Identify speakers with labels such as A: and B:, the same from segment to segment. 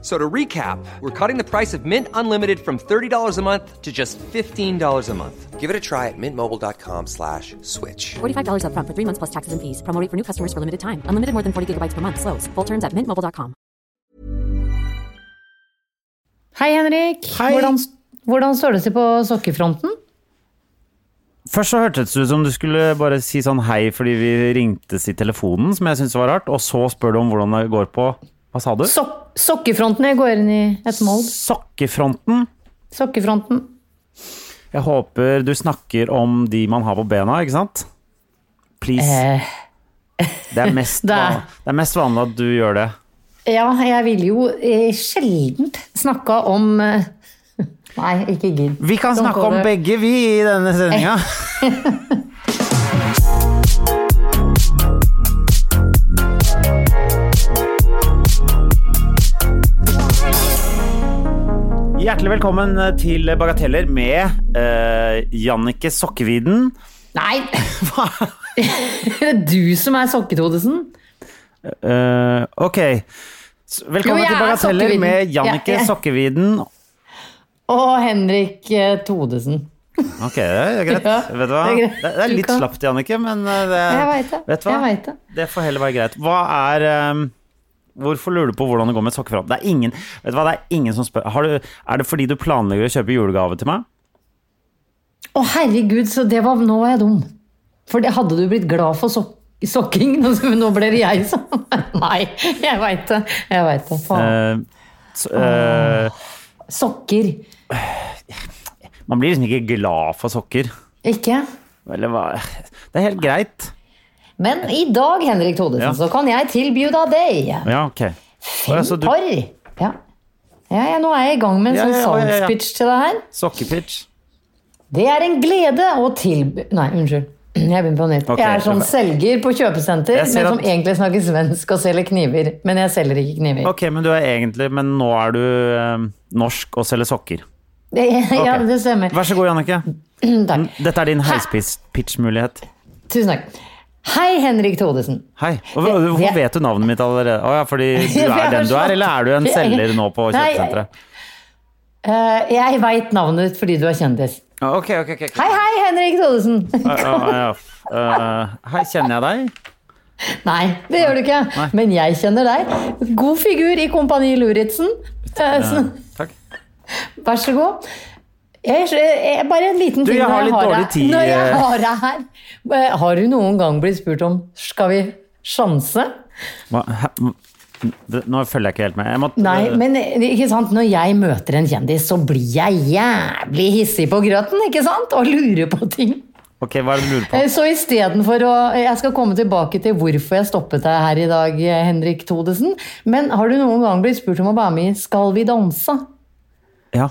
A: So to recap, we're cutting the price of Mint Unlimited from $30 a month to just $15 a month. Give it a try at mintmobile.com slash switch.
B: $45 upfront for three months plus taxes and fees. Promo rate for new customers for limited time. Unlimited more than 40 gigabytes per month. Slows. Full terms at mintmobile.com.
C: Hei, Henrik.
D: Hei.
C: Hvordan, hvordan står det til på sokkefronten?
D: Først så hørtes det ut som du skulle bare si sånn hei fordi vi ringtes i telefonen, som jeg syntes var rart, og så spør du om hvordan det går på Hva sa du?
C: Sok sokkefronten. Jeg går inn i et mål.
D: Sokkefronten.
C: Sokkefronten.
D: Jeg håper du snakker om de man har på bena, ikke sant? Please.
C: Eh,
D: Det er mest,
C: det er-
D: van- det er mest vanlig at du gjør det.
C: ja, jeg ville jo eh, sjeldent snakka om eh, Nei, ikke gidd.
D: Vi kan
C: Don't
D: snakke
C: go
D: om
C: there.
D: begge, vi, i denne sendinga. Hjertelig velkommen eh, til Bagateller med eh, Jannike Sokkeviden.
C: Nei! det er du som er sokketodesen.
D: Eh, ok. S-
C: Jo,
D: Velkommen
C: jeg
D: til
C: er
D: Bagateller
C: Sokkeviden.
D: med Jannike
C: Jeg- jeg-
D: Sokkeviden.
C: Og Henrik eh, Todesen.
D: Ok, det er greit.
C: Ja,
D: vet du hva?
C: det er
D: Det er,
C: greit.
D: det er
C: Du
D: litt
C: kan-
D: slapt, Jannike, men eh, det,
C: Jeg veit det.
D: Vet du hva?
C: Jeg vet det.
D: Det får heller være greit. Hva er ehm, Hvorfor lurer du på hvordan det går med sokkefronten? Det er ingen Vet du hva, det er ingen som spør har du, Er det fordi du planlegger å kjøpe julegave til meg?
C: Å, herregud, så det var, nå var jeg dum. For det hadde du blitt glad for sok sokking? Nå, nå ble det jeg som Nei, jeg veit det. Jeg vet det. Faen.
D: Eh, så, eh,
C: Sokker.
D: man blir liksom ikke glad for sokker.
C: Ikke?
D: Eller hva Det er helt greit.
C: Men i dag, Henrik Thodesen,
D: Ja.
C: så kan jeg tilby deg deg.
D: Ja, ok. Å, ja, så
C: Fem
D: du-
C: par. Ja. Ja, ja, nå er jeg i gang med en
D: Ja,
C: sånn
D: ja, ja, ja, ja.
C: salgspitch til deg her.
D: Sokkepitch.
C: Det er en glede å tilby Nei, unnskyld. Jeg begynner på nytt.
D: Ok,
C: jeg er sånn
D: ok.
C: selger på kjøpesenter,
D: Jeg
C: men
D: ser
C: som
D: at-
C: egentlig snakker svensk og selger kniver. Men jeg selger ikke kniver.
D: Ok, men du er egentlig Men nå er du ehm, norsk og selger sokker.
C: Det, ja,
D: Ok.
C: det stemmer.
D: Vær så god, Jannike.
C: Takk.
D: Dette er din heispiss-pitch-mulighet.
C: Tusen takk. Hei, Henrik Thodesen.
D: Hei. Og hvor-
C: Det-
D: Hvorfor
C: det-
D: vet du navnet mitt allerede? Å ja, fordi du
C: Jeg
D: er
C: har
D: den du er,
C: slått-
D: eller er du en selger nå på
C: Nei, jeg-
D: kjøpesenteret?
C: Eh, jeg veit navnet ditt fordi du er kjendis.
D: Ja, Ok, ok, ok. ok.
C: Hei, hei, Henrik Thodesen.
D: Ja, ja, ja. Eh, Hei, kjenner jeg deg?
C: Nei, det gjør du ikke. Men jeg kjenner deg. God figur i Kompani Luritzen. Eh,
D: Ja,
C: så-
D: Takk.
C: Vær så god. Jeg, jeg, bare en liten ting.
D: jeg
C: når
D: har litt dårlig
C: deg-
D: tid,
C: Når jeg
D: eh.
C: har deg her. Eh, Har du noen gang blitt spurt om 'skal vi sjanse'?
D: Hva- hæ? Det- Nå følger jeg ikke helt med. Jeg må, eh,
C: Nei, men eh, ikke sant? når jeg møter en kjendis, så blir jeg jævlig hissig på grøten, ikke sant? Og lurer på ting.
D: Ok, hva er det du lurer på?
C: Eh, Så istedenfor å eh, Jeg skal komme tilbake til hvorfor jeg stoppet deg her i dag, eh, Henrik Thodesen. Men har du noen gang blitt spurt om å være med i Skal vi danse?
D: Ja.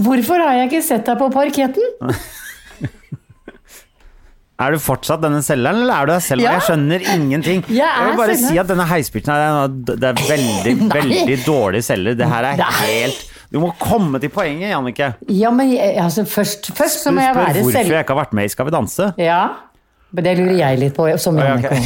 C: Hvorfor har jeg ikke sett deg på parketten?
D: Er du fortsatt denne selgeren, eller er du deg selv?
C: Ja.
D: Jeg skjønner ingenting. Jeg,
C: er
D: vil bare
C: selgeren.
D: si at denne heispitchen her, det er- det er veldig, veldig dårlig selger. Det her er
C: Nei.
D: helt Du må komme til poenget, Jannike.
C: Ja, men jeg, altså, først, først så
D: Du
C: må jeg
D: spør
C: være
D: hvorfor
C: selv...
D: jeg ikke har vært med i Skal vi danse.
C: Ja, men det lurer jeg litt på. Som
D: ja,
C: Jannicke.
D: ok.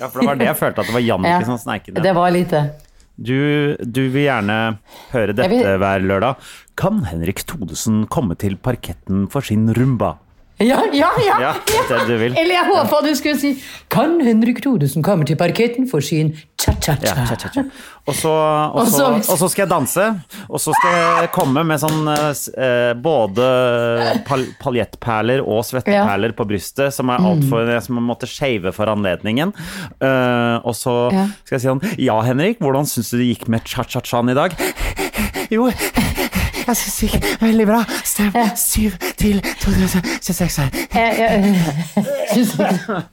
D: Ja, for det var det jeg følte at det var Jannicke
C: Ja,
D: som sneiket
C: Det
D: ned.
C: var litt eh, det.
D: Du, du vil gjerne høre dette
C: Jeg vil-
D: hver lørdag. Kan Henrik Thodesen komme til parketten for sin rumba?
C: Ja, ja, ja!
D: Ja, det du vil.
C: Eller jeg håpa du skulle si Kan Henrik Thodesen komme til parketten for sin
D: Ja,
C: cha-cha-cha?
D: tja, tja, tja. Og, så, og, så,
C: Og så-
D: og så skal jeg danse, og så skal jeg komme med sånn eh, s- eh, både pal paljettperler og svetteperler på brystet, som er
C: Mm.
D: alt for, eh, som man måtte shave for anledningen. Eh, og så
C: Ja.
D: skal jeg si sånn Ja, Henrik, hvordan syns du det gikk med cha-cha-chaen i dag? Jo, jeg syns det gikk veldig bra. Stem 7 til 2026 her.
C: Jeg- jeg- Syns ikke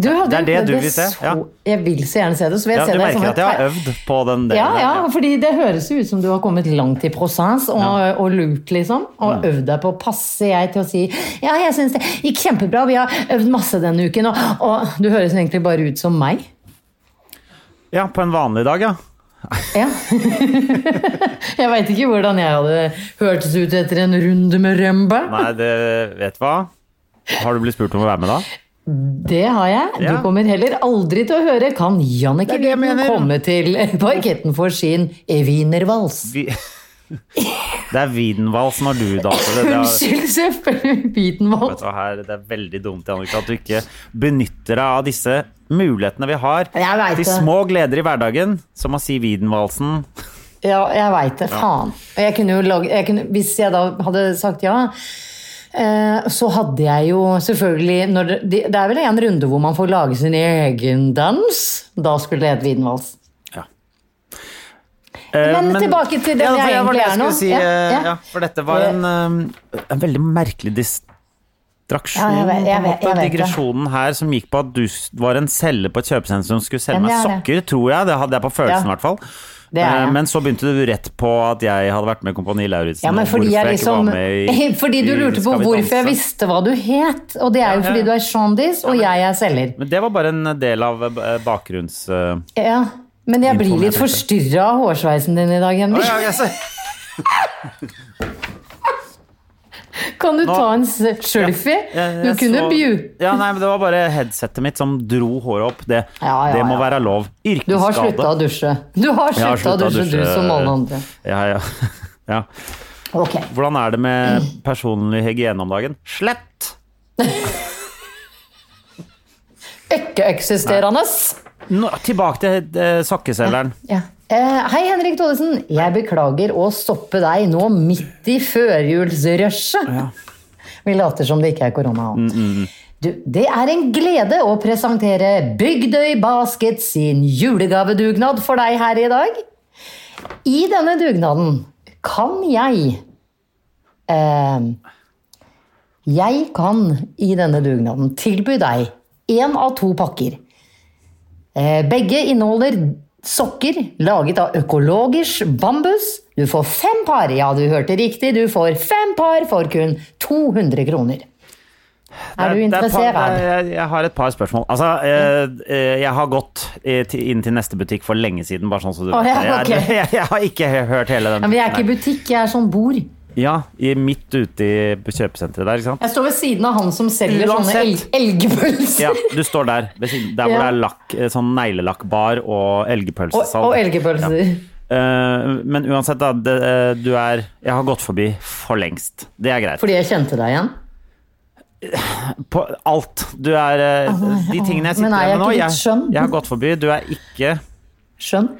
C: du hadde,
D: Det er det du vil se,
C: Så,
D: ja.
C: Jeg vil så gjerne se det. Så vil jeg
D: Ja,
C: se
D: du
C: det som
D: merker
C: et
D: at jeg
C: per-
D: har øvd på den delen.
C: Ja,
D: der,
C: ja, fordi det høres jo ut som du har kommet langt i prosess og, og lurt, liksom. Og
D: Mm.
C: øvd deg på. Passer jeg til å si ja, jeg syns det gikk kjempebra, vi har øvd masse denne uken, og, og du høres egentlig bare ut som meg.
D: Ja, på en vanlig dag, ja.
C: Ja. jeg veit ikke hvordan jeg hadde hørtes ut etter en runde med rømba.
D: Nei, det vet du hva. Har du blitt spurt om å være med, da?
C: Det har jeg. Du
D: Ja.
C: kommer heller aldri til å høre kan Jannicke
D: Det er det jeg
C: Lien
D: mener.
C: komme til parketten for sin wienervals.
D: Vi... Det er wienervals når du danser. Det, det er...
C: Unnskyld, selvfølgelig. Wienervals.
D: Vet du hva, her, det er veldig dumt Jannicke, at du ikke benytter deg av disse mulighetene vi har.
C: Jeg vet
D: De
C: det.
D: små gleder i hverdagen, som å si Wienervalsen.
C: Ja, jeg veit det. Faen. Og jeg kunne jo lage, jeg kunne, hvis jeg da hadde sagt ja, eh, så hadde jeg jo selvfølgelig når det, det det er vel en runde hvor man får lage sin egen dans. Da skulle det hett Wienervals.
D: Eh,
C: Men tilbake til det
D: ja,
C: jeg
D: for var det
C: egentlig er nå.
D: skulle Si,
C: Ja,
D: eh,
C: ja.
D: ja, for dette var en, eh, en veldig merkelig distraksjon.
C: Ja, jeg vet- jeg
D: på en
C: vet-
D: måte.
C: jeg vet det.
D: Digresjonen her som gikk på at du s- var en selger på et kjøpesenter som skulle selge
C: Ja,
D: meg
C: men det
D: sokker, tror jeg. Det hadde jeg på følelsen, i
C: Ja.
D: hvert fall.
C: Det er
D: Eh,
C: jeg.
D: Men så begynte du rett på at jeg hadde vært med i Kompani Lauritzen.
C: Ja, men
D: og
C: fordi,
D: hvorfor
C: jeg
D: ikke var
C: liksom,
D: med i-
C: fordi du
D: i
C: lurte på
D: Skal vi
C: hvorfor jeg
D: danse.
C: visste hva du het. Og det er jo
D: Ja, ja.
C: fordi du er Shondis, og jeg er selger.
D: Men det var bare en del av eh, bakgrunns... eh,
C: Ja, men jeg blir
D: Informert,
C: litt
D: ikke?
C: forstyrra av hårsveisen din i dag, Henrik.
D: Å, ja, jeg ser-
C: Kan du ta en s- selfie?
D: Jeg-
C: Du
D: jeg
C: kunne
D: så-
C: bju.
D: Ja, nei, men det var bare headsetet mitt som dro håret opp. Det,
C: Ja, ja,
D: det må
C: ja.
D: være lov. Yrkesskade.
C: Du har slutta å dusje. Du har
D: Jeg har
C: slutta å
D: sluttet
C: dusje, du som alle andre.
D: Ja, ja. ja.
C: Ok.
D: Hvordan er det med personlig hygiene om dagen? Slett!
C: Ikke-eksisterende.
D: Nå, tilbake til eh, sokkeselgeren.
C: Ja. Eh, hei, Henrik Thodesen. Jeg beklager å stoppe deg nå midt i førjulsrushet. Vi later som det ikke er korona.
D: Mm,
C: Du, det er en glede å presentere Bygdøy Basket sin julegavedugnad for deg her i dag. I denne dugnaden kan jeg eh, Jeg kan i denne dugnaden tilby deg én av to pakker. Eh, Begge inneholder sokker laget av økologisk bambus. Du får fem par. Ja, du hørte riktig. Du får fem par for kun 200 kroner. Er du
D: Det et par-
C: interessert?
D: det er- jeg, jeg har et par spørsmål. Altså, eh, eh, jeg har gått eh, til, inn til neste butikk for lenge siden, bare sånn som du
C: Å,
D: vet.
C: ja, ok.
D: jeg, jeg, jeg har ikke hørt hele den.
C: Ja, men jeg er ikke
D: butikken
C: i butikk, jeg er sånn bord. Jeg
D: her. ja, i, midt ute i kjøpesenteret der, ikke sant?
C: står ved siden av han som selger sånne el
D: Uansett.
C: elgpølser.
D: Ja, du står der, ved siden- der hvor
C: Ja.
D: det er lakk, eh, sånn neglelakkbar og
C: Og,
D: elgpølsesalg.
C: og elgpølser.
D: Eh, men uansett, da. Det, eh, du er Jeg har gått forbi for lengst. Det er greit.
C: Fordi jeg kjente deg igjen.
D: På alt. Du er eh, De tingene
C: Men
D: jeg
C: er
D: sitter
C: jeg
D: igjen med nå
C: ikke litt
D: jeg,
C: skjønn?
D: jeg har gått forbi. Du er ikke
C: Skjønn?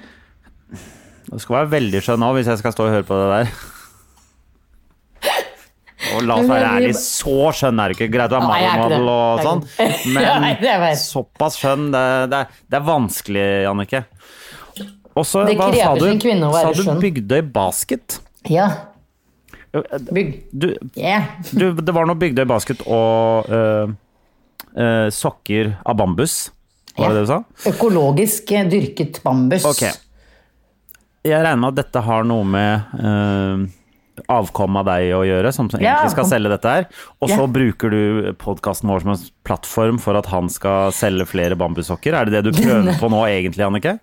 D: Du skal være veldig skjønn nå hvis jeg skal stå og høre på det der. Og la oss
C: Men
D: være
C: jeg blir-
D: ærlig, så skjønn er du ikke. Greit du er
C: Nei, jeg er ikke
D: model og sånn,
C: det. Jeg er ikke det. Nei, det
D: men
C: vet jeg.
D: såpass skjønn, det, det, er, det er vanskelig, Jannicke. Og så,
C: Det
D: hva sa
C: krever
D: du?
C: sin kvinne å være
D: Sa
C: skjønn.
D: du Bygdøy Basket?
C: Ja.
D: Du,
C: Bygg. Yeah.
D: det var noe Bygdøy Basket og øh, øh, sokker av bambus, var det det du sa?
C: Økologisk eh, dyrket bambus.
D: Ok. Jeg regner med at dette har noe med eh, avkom av deg å gjøre, som egentlig
C: Ja,
D: skal
C: avkom.
D: selge dette her. Og så
C: Ja.
D: bruker du podkasten vår som en plattform for at han skal selge flere bambussokker. Er det det du prøver på nå egentlig, Annike?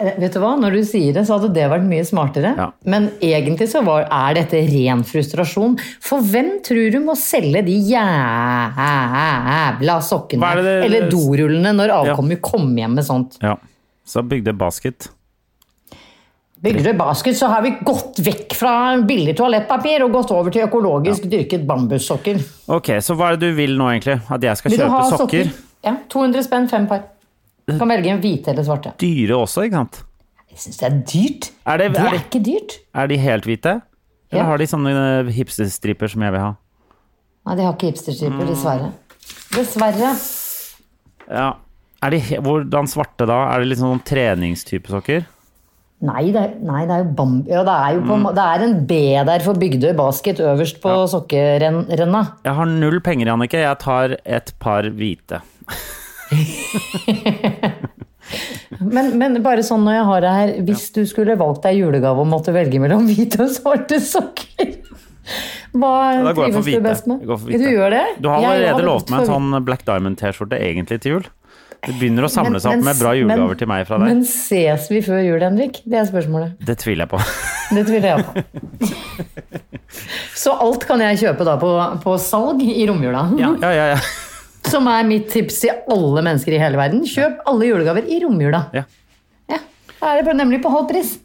C: Eh, Vet du hva, Når du sier det, så hadde det vært mye smartere.
D: Ja.
C: Men egentlig så var, er dette ren frustrasjon. For hvem tror du må selge de jævla sokkene
D: Hva er det det-
C: eller dorullene når avkommet kommer hjem med sånt?
D: Ja. Så bygde basket.
C: Bygdøy Basket så har vi gått vekk fra billig toalettpapir og gått over til økologisk dyrket bambussokker.
D: Ok, så hva er det du vil nå egentlig? At jeg skal
C: Vil du
D: kjøpe
C: ha
D: sokker?
C: Ja, 200 spenn, fem par. Du kan velge en hvite eller svarte.
D: Dyre også, ikke sant?
C: Jeg syns det er dyrt.
D: Er det-
C: det
D: er
C: er
D: det-
C: ikke dyrt.
D: Er de helt hvite?
C: Ja.
D: Eller har de sånne eh, hipsterstriper som jeg vil ha?
C: Nei, de har ikke hipsterstriper, dessverre. Dessverre.
D: Ja. Er de, he- hvordan svarte da? Er det litt sånn treningstype sokker?
C: Nei, det er, nei, det er jo bamb... Ja, det er jo
D: Mm.
C: på, en må- det er en B der for Bygdøy Basket øverst på sokkerenna.
D: Jeg har null penger, Jannicke. Jeg tar et par hvite.
C: Men, men bare sånn når jeg har det her, hvis du skulle valgt deg julegave og måtte velge mellom hvite og svarte sokker, hva
D: Da går jeg
C: trives
D: for
C: du
D: hvite.
C: best med?
D: Jeg går for hvite.
C: Du gjør det?
D: Du har
C: Jeg
D: allerede
C: hadde
D: lovt
C: gått
D: meg en
C: for
D: sånn Black Diamond-T-skjorte egentlig til jul. Det begynner å samle seg opp med bra julegaver til meg fra deg.
C: Men ses vi før jul, Henrik? Det er spørsmålet.
D: Det tviler jeg på.
C: Det tviler jeg på. Så alt kan jeg kjøpe da på, på salg i romjula.
D: Ja, ja, ja.
C: Som er mitt tips til alle mennesker i hele verden. Kjøp alle julegaver i romjula.
D: ja.
C: Ja, Da er det nemlig på halv pris.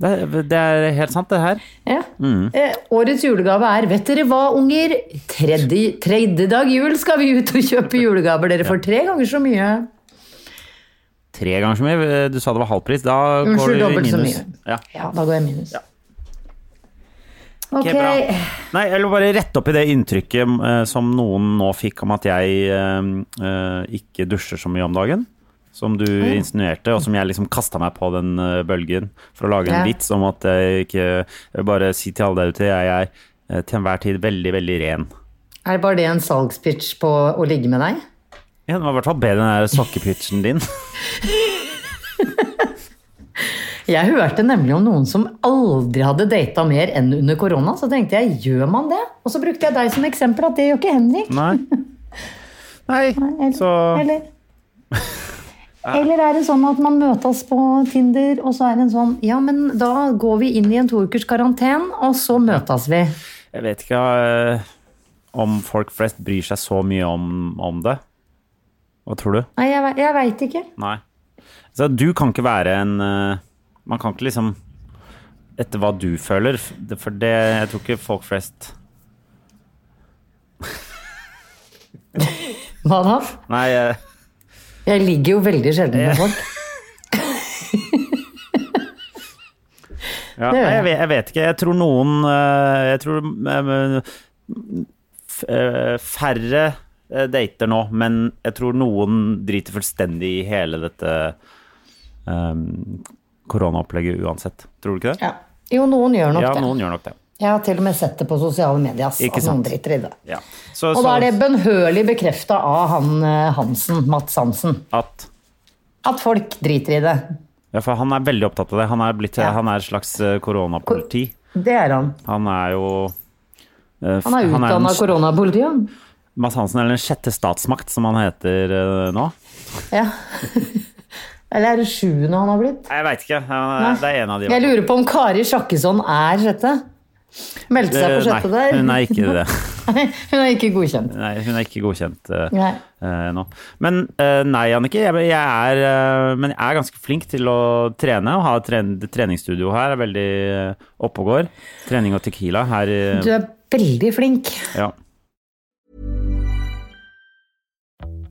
D: Det, er- det er helt sant, det her.
C: Ja.
D: Mm.
C: Eh, årets julegave er Vet dere hva, unger? Tredje, tredje dag jul skal vi ut og kjøpe julegaver. Dere får tre ganger så mye.
D: Tre ganger så mye. Du sa det var halvpris. Da går
C: Unnskyld,
D: du i
C: dobbelt så
D: minus.
C: mye.
D: Ja.
C: Ja, da går jeg i minus. Ok.
D: Ok, bra. Nei, jeg vil bare rette opp i det inntrykket eh, som noen nå fikk om at jeg eh, eh, ikke dusjer så mye om dagen. Som du insinuerte, og som jeg liksom kasta meg på den eh, bølgen for å lage en
C: Ja.
D: vits om at jeg ikke jeg vil Bare si til alle der ute, jeg er eh, til enhver tid veldig, veldig ren.
C: Er det bare det en salgspitch på å ligge med deg?
D: Ja, den var i hvert fall bedre enn den der sokkepitchen din.
C: Jeg hørte nemlig om noen som aldri hadde data mer enn under korona. Så tenkte jeg, gjør man det? Og så brukte jeg deg som eksempel, at det gjør ikke Henrik.
D: Nei. Nei,
C: Eller-
D: så
C: Eller, eller er det sånn at man møtes på Tinder, og så er det en sånn Ja, men da går vi inn i en toukers karantene, og så møtes vi.
D: Jeg vet ikke eh, om folk flest bryr seg så mye om, om det. Hva tror du?
C: Nei, jeg, ve- jeg veit ikke.
D: Nei. Så du kan ikke være en eh, Man kan ikke liksom Etter hva du føler, f- det- for det Jeg tror ikke folk flest
C: Hva da?
D: Nei, eh,
C: Jeg ligger jo veldig sjelden med folk.
D: ja,
C: Det gjør
D: nei jeg,
C: jeg.
D: vet, jeg vet ikke. Jeg tror noen eh, Jeg tror eh, f- eh, færre eh, dater nå, men jeg tror noen driter fullstendig i hele dette eh, koronaopplegget uansett. Tror du ikke det?
C: Ja. Jo, noen gjør nok
D: Ja,
C: det.
D: noen gjør nok det.
C: Jeg har til og med sett det på sosiale medier. ass,
D: Ikke
C: at noen
D: sant.
C: driter i det.
D: Ja. Så,
C: Og
D: så
C: da er det bønnhørlig bekrefta av han eh, Hansen, Mats Hansen,
D: at
C: at folk driter i det.
D: Ja, for han er veldig opptatt av det. Han er, blitt,
C: Ja.
D: han er et slags eh, koronapoliti.
C: Det er han.
D: Han er jo eh, f-
C: Han er
D: den
C: utdanna
D: sj-
C: koronapolitiet.
D: Mads Hansen er den sjette statsmakt, som han heter eh, nå.
C: Ja. Eller er det sjuende han har blitt?
D: Nei, Jeg veit ikke. Han er, det er en av de. i
C: Jeg
D: hvert
C: lurer på om Kari Sjakkesson er sjette. Meldte
D: fall.
C: seg på sjette
D: Eh, Nei,
C: der.
D: hun er ikke det.
C: Hun er ikke godkjent.
D: Nei, hun er ikke godkjent eh,
C: Nei.
D: eh, nå. Men eh, nei, Annike. Jeg, jeg, er, eh, men jeg er ganske flink til å trene. Og har tren treningsstudio her. Er veldig eh, oppe og går. Trening og tequila her i
C: Du er veldig flink.
D: ja.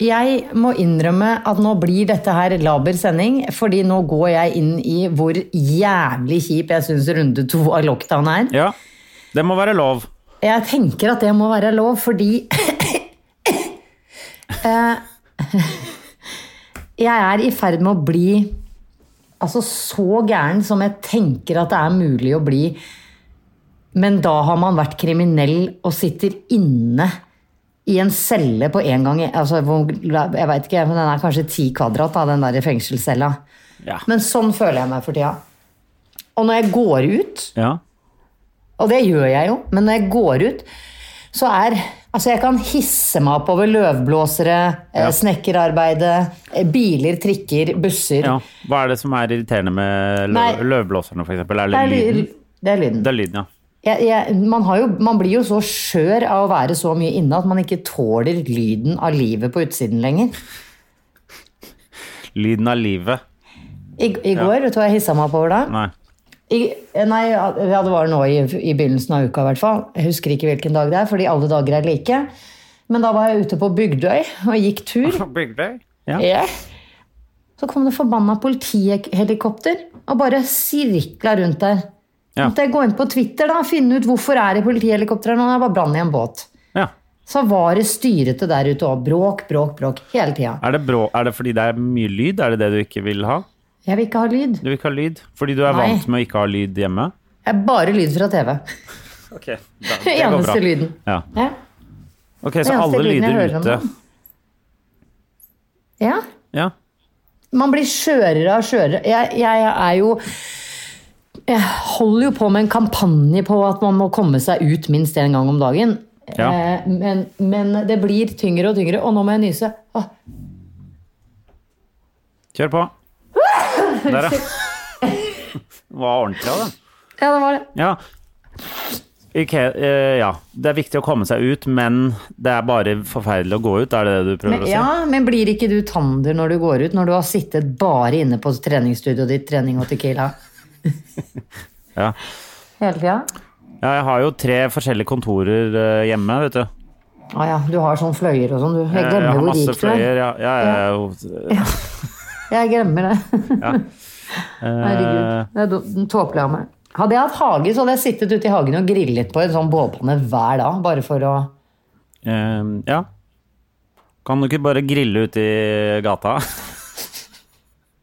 C: Jeg må innrømme at nå blir dette her laber sending, fordi nå går jeg inn i hvor jævlig kjip jeg syns runde to av lockdown er.
D: ja. Det må være lov.
C: Jeg tenker at det må være lov, fordi Eh, Jeg er i ferd med å bli altså så gæren som jeg tenker at det er mulig å bli. Men da har man vært kriminell og sitter inne i en celle på en gang. Altså, hvor- jeg vet ikke, men Den er kanskje ti kvadrat, da, den der fengselscella.
D: Ja.
C: Men sånn føler jeg meg for tida. Og når jeg går ut
D: Ja.
C: og det gjør jeg jo, men når jeg går ut, så er Altså, jeg kan hisse meg opp over løvblåsere, eh, snekkerarbeide, eh, biler, trikker, busser.
D: Ja. Hva er det som er irriterende med lø
C: Nei.
D: løvblåserne, for eksempel? Er
C: Det
D: det
C: er,
D: lyden?
C: ly- det er lyden.
D: Det er lyden, ja.
C: jeg, jeg, man, har jo, man blir jo så skjør av å være så mye inne at man ikke tåler lyden av livet på utsiden lenger.
D: Lyden av livet.
C: I, i går, vet du hva jeg hissa meg opp over da?
D: Nei.
C: I, nei, ja, det var nå i, i begynnelsen av uka i hvert fall. Jeg husker ikke hvilken dag det er, fordi alle dager er like. Men da var jeg ute på Bygdøy og gikk tur.
D: Bygdøy? Ja.
C: Ja. Så kom det forbanna politihelikopter og bare sirkla rundt der.
D: Ja.
C: Måtte jeg gå inn på Twitter da, og finne ut hvorfor er det politihelikopter her nå? Det var brann i en båt.
D: ja.
C: Så var det styrete der ute og bråk, bråk, bråk hele tida.
D: Er, det brå, er det fordi det er mye lyd? Er det det du ikke vil ha?
C: Jeg vil ikke ha lyd.
D: Du vil ikke ha lyd? Fordi du er
C: Nei.
D: vant med å ikke ha lyd hjemme?
C: Jeg er bare lyd fra TV.
D: Ok, da, det går bra.
C: Eneste lyden.
D: Ja.
C: Ja.
D: Ok, så
C: eneste
D: alle
C: lyden jeg
D: lyder
C: hører om
D: ute.
C: dagen. ja.
D: Ja.
C: Man blir skjørere og skjørere. Jeg, jeg er jo Jeg holder jo på med en kampanje på at man må komme seg ut minst én gang om dagen.
D: Ja.
C: Eh, men, men det blir tyngre og tyngre. Og nå må jeg nyse. Åh,
D: Kjør på. Der, ja. Det var ordentlig av det.
C: ja, det var det.
D: Ja. Ok, eh, ja. Det er viktig å komme seg ut, men det er bare forferdelig å gå ut. Er det det du prøver
C: Men, ja,
D: å si?
C: men blir ikke du tander når du går ut, når du har sittet bare inne på treningsstudioet ditt, trening og tequila?
D: Ja.
C: Hele tida?
D: ja, jeg har jo tre forskjellige kontorer eh, hjemme, vet du.
C: Å ja, du har sånn fløyer og sånn. du. Jeg
D: jeg
C: glemmer
D: har
C: hvor
D: masse
C: rik du er.
D: fløyer. Ja, ja, ja, ja.
C: Jeg glemmer det.
D: Eh,
C: Herregud. Det er dum- tåpelig av meg. Hadde jeg hatt hage, så hadde jeg sittet ute i hagen og grillet på en sånn bålpanne hver dag. Bare for å
D: eh, ja. Kan du ikke bare grille ute i gata?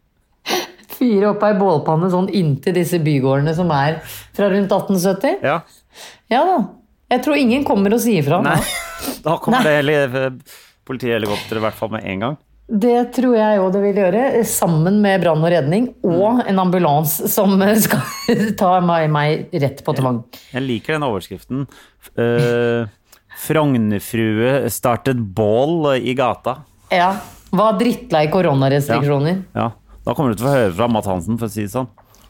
C: fyre opp ei bålpanne sånn inntil disse bygårdene som er fra rundt 1870.
D: Ja.
C: Ja da. Jeg tror ingen kommer og sier fra.
D: Nei. Da kommer
C: Nei.
D: det hele eh, politihelikopteret i hvert fall med en gang.
C: Det tror jeg òg det vil gjøre. eh, Sammen med brann og redning og
D: Mm.
C: en ambulans som eh, skal ta meg, meg rett på tvang.
D: Jeg liker den overskriften. Eh, Frognerfrue startet bål i gata.
C: Ja. Var drittlei koronarestriksjoner.
D: Ja, Da kommer du til å få høre fra Matt Hansen, for å si det sånn.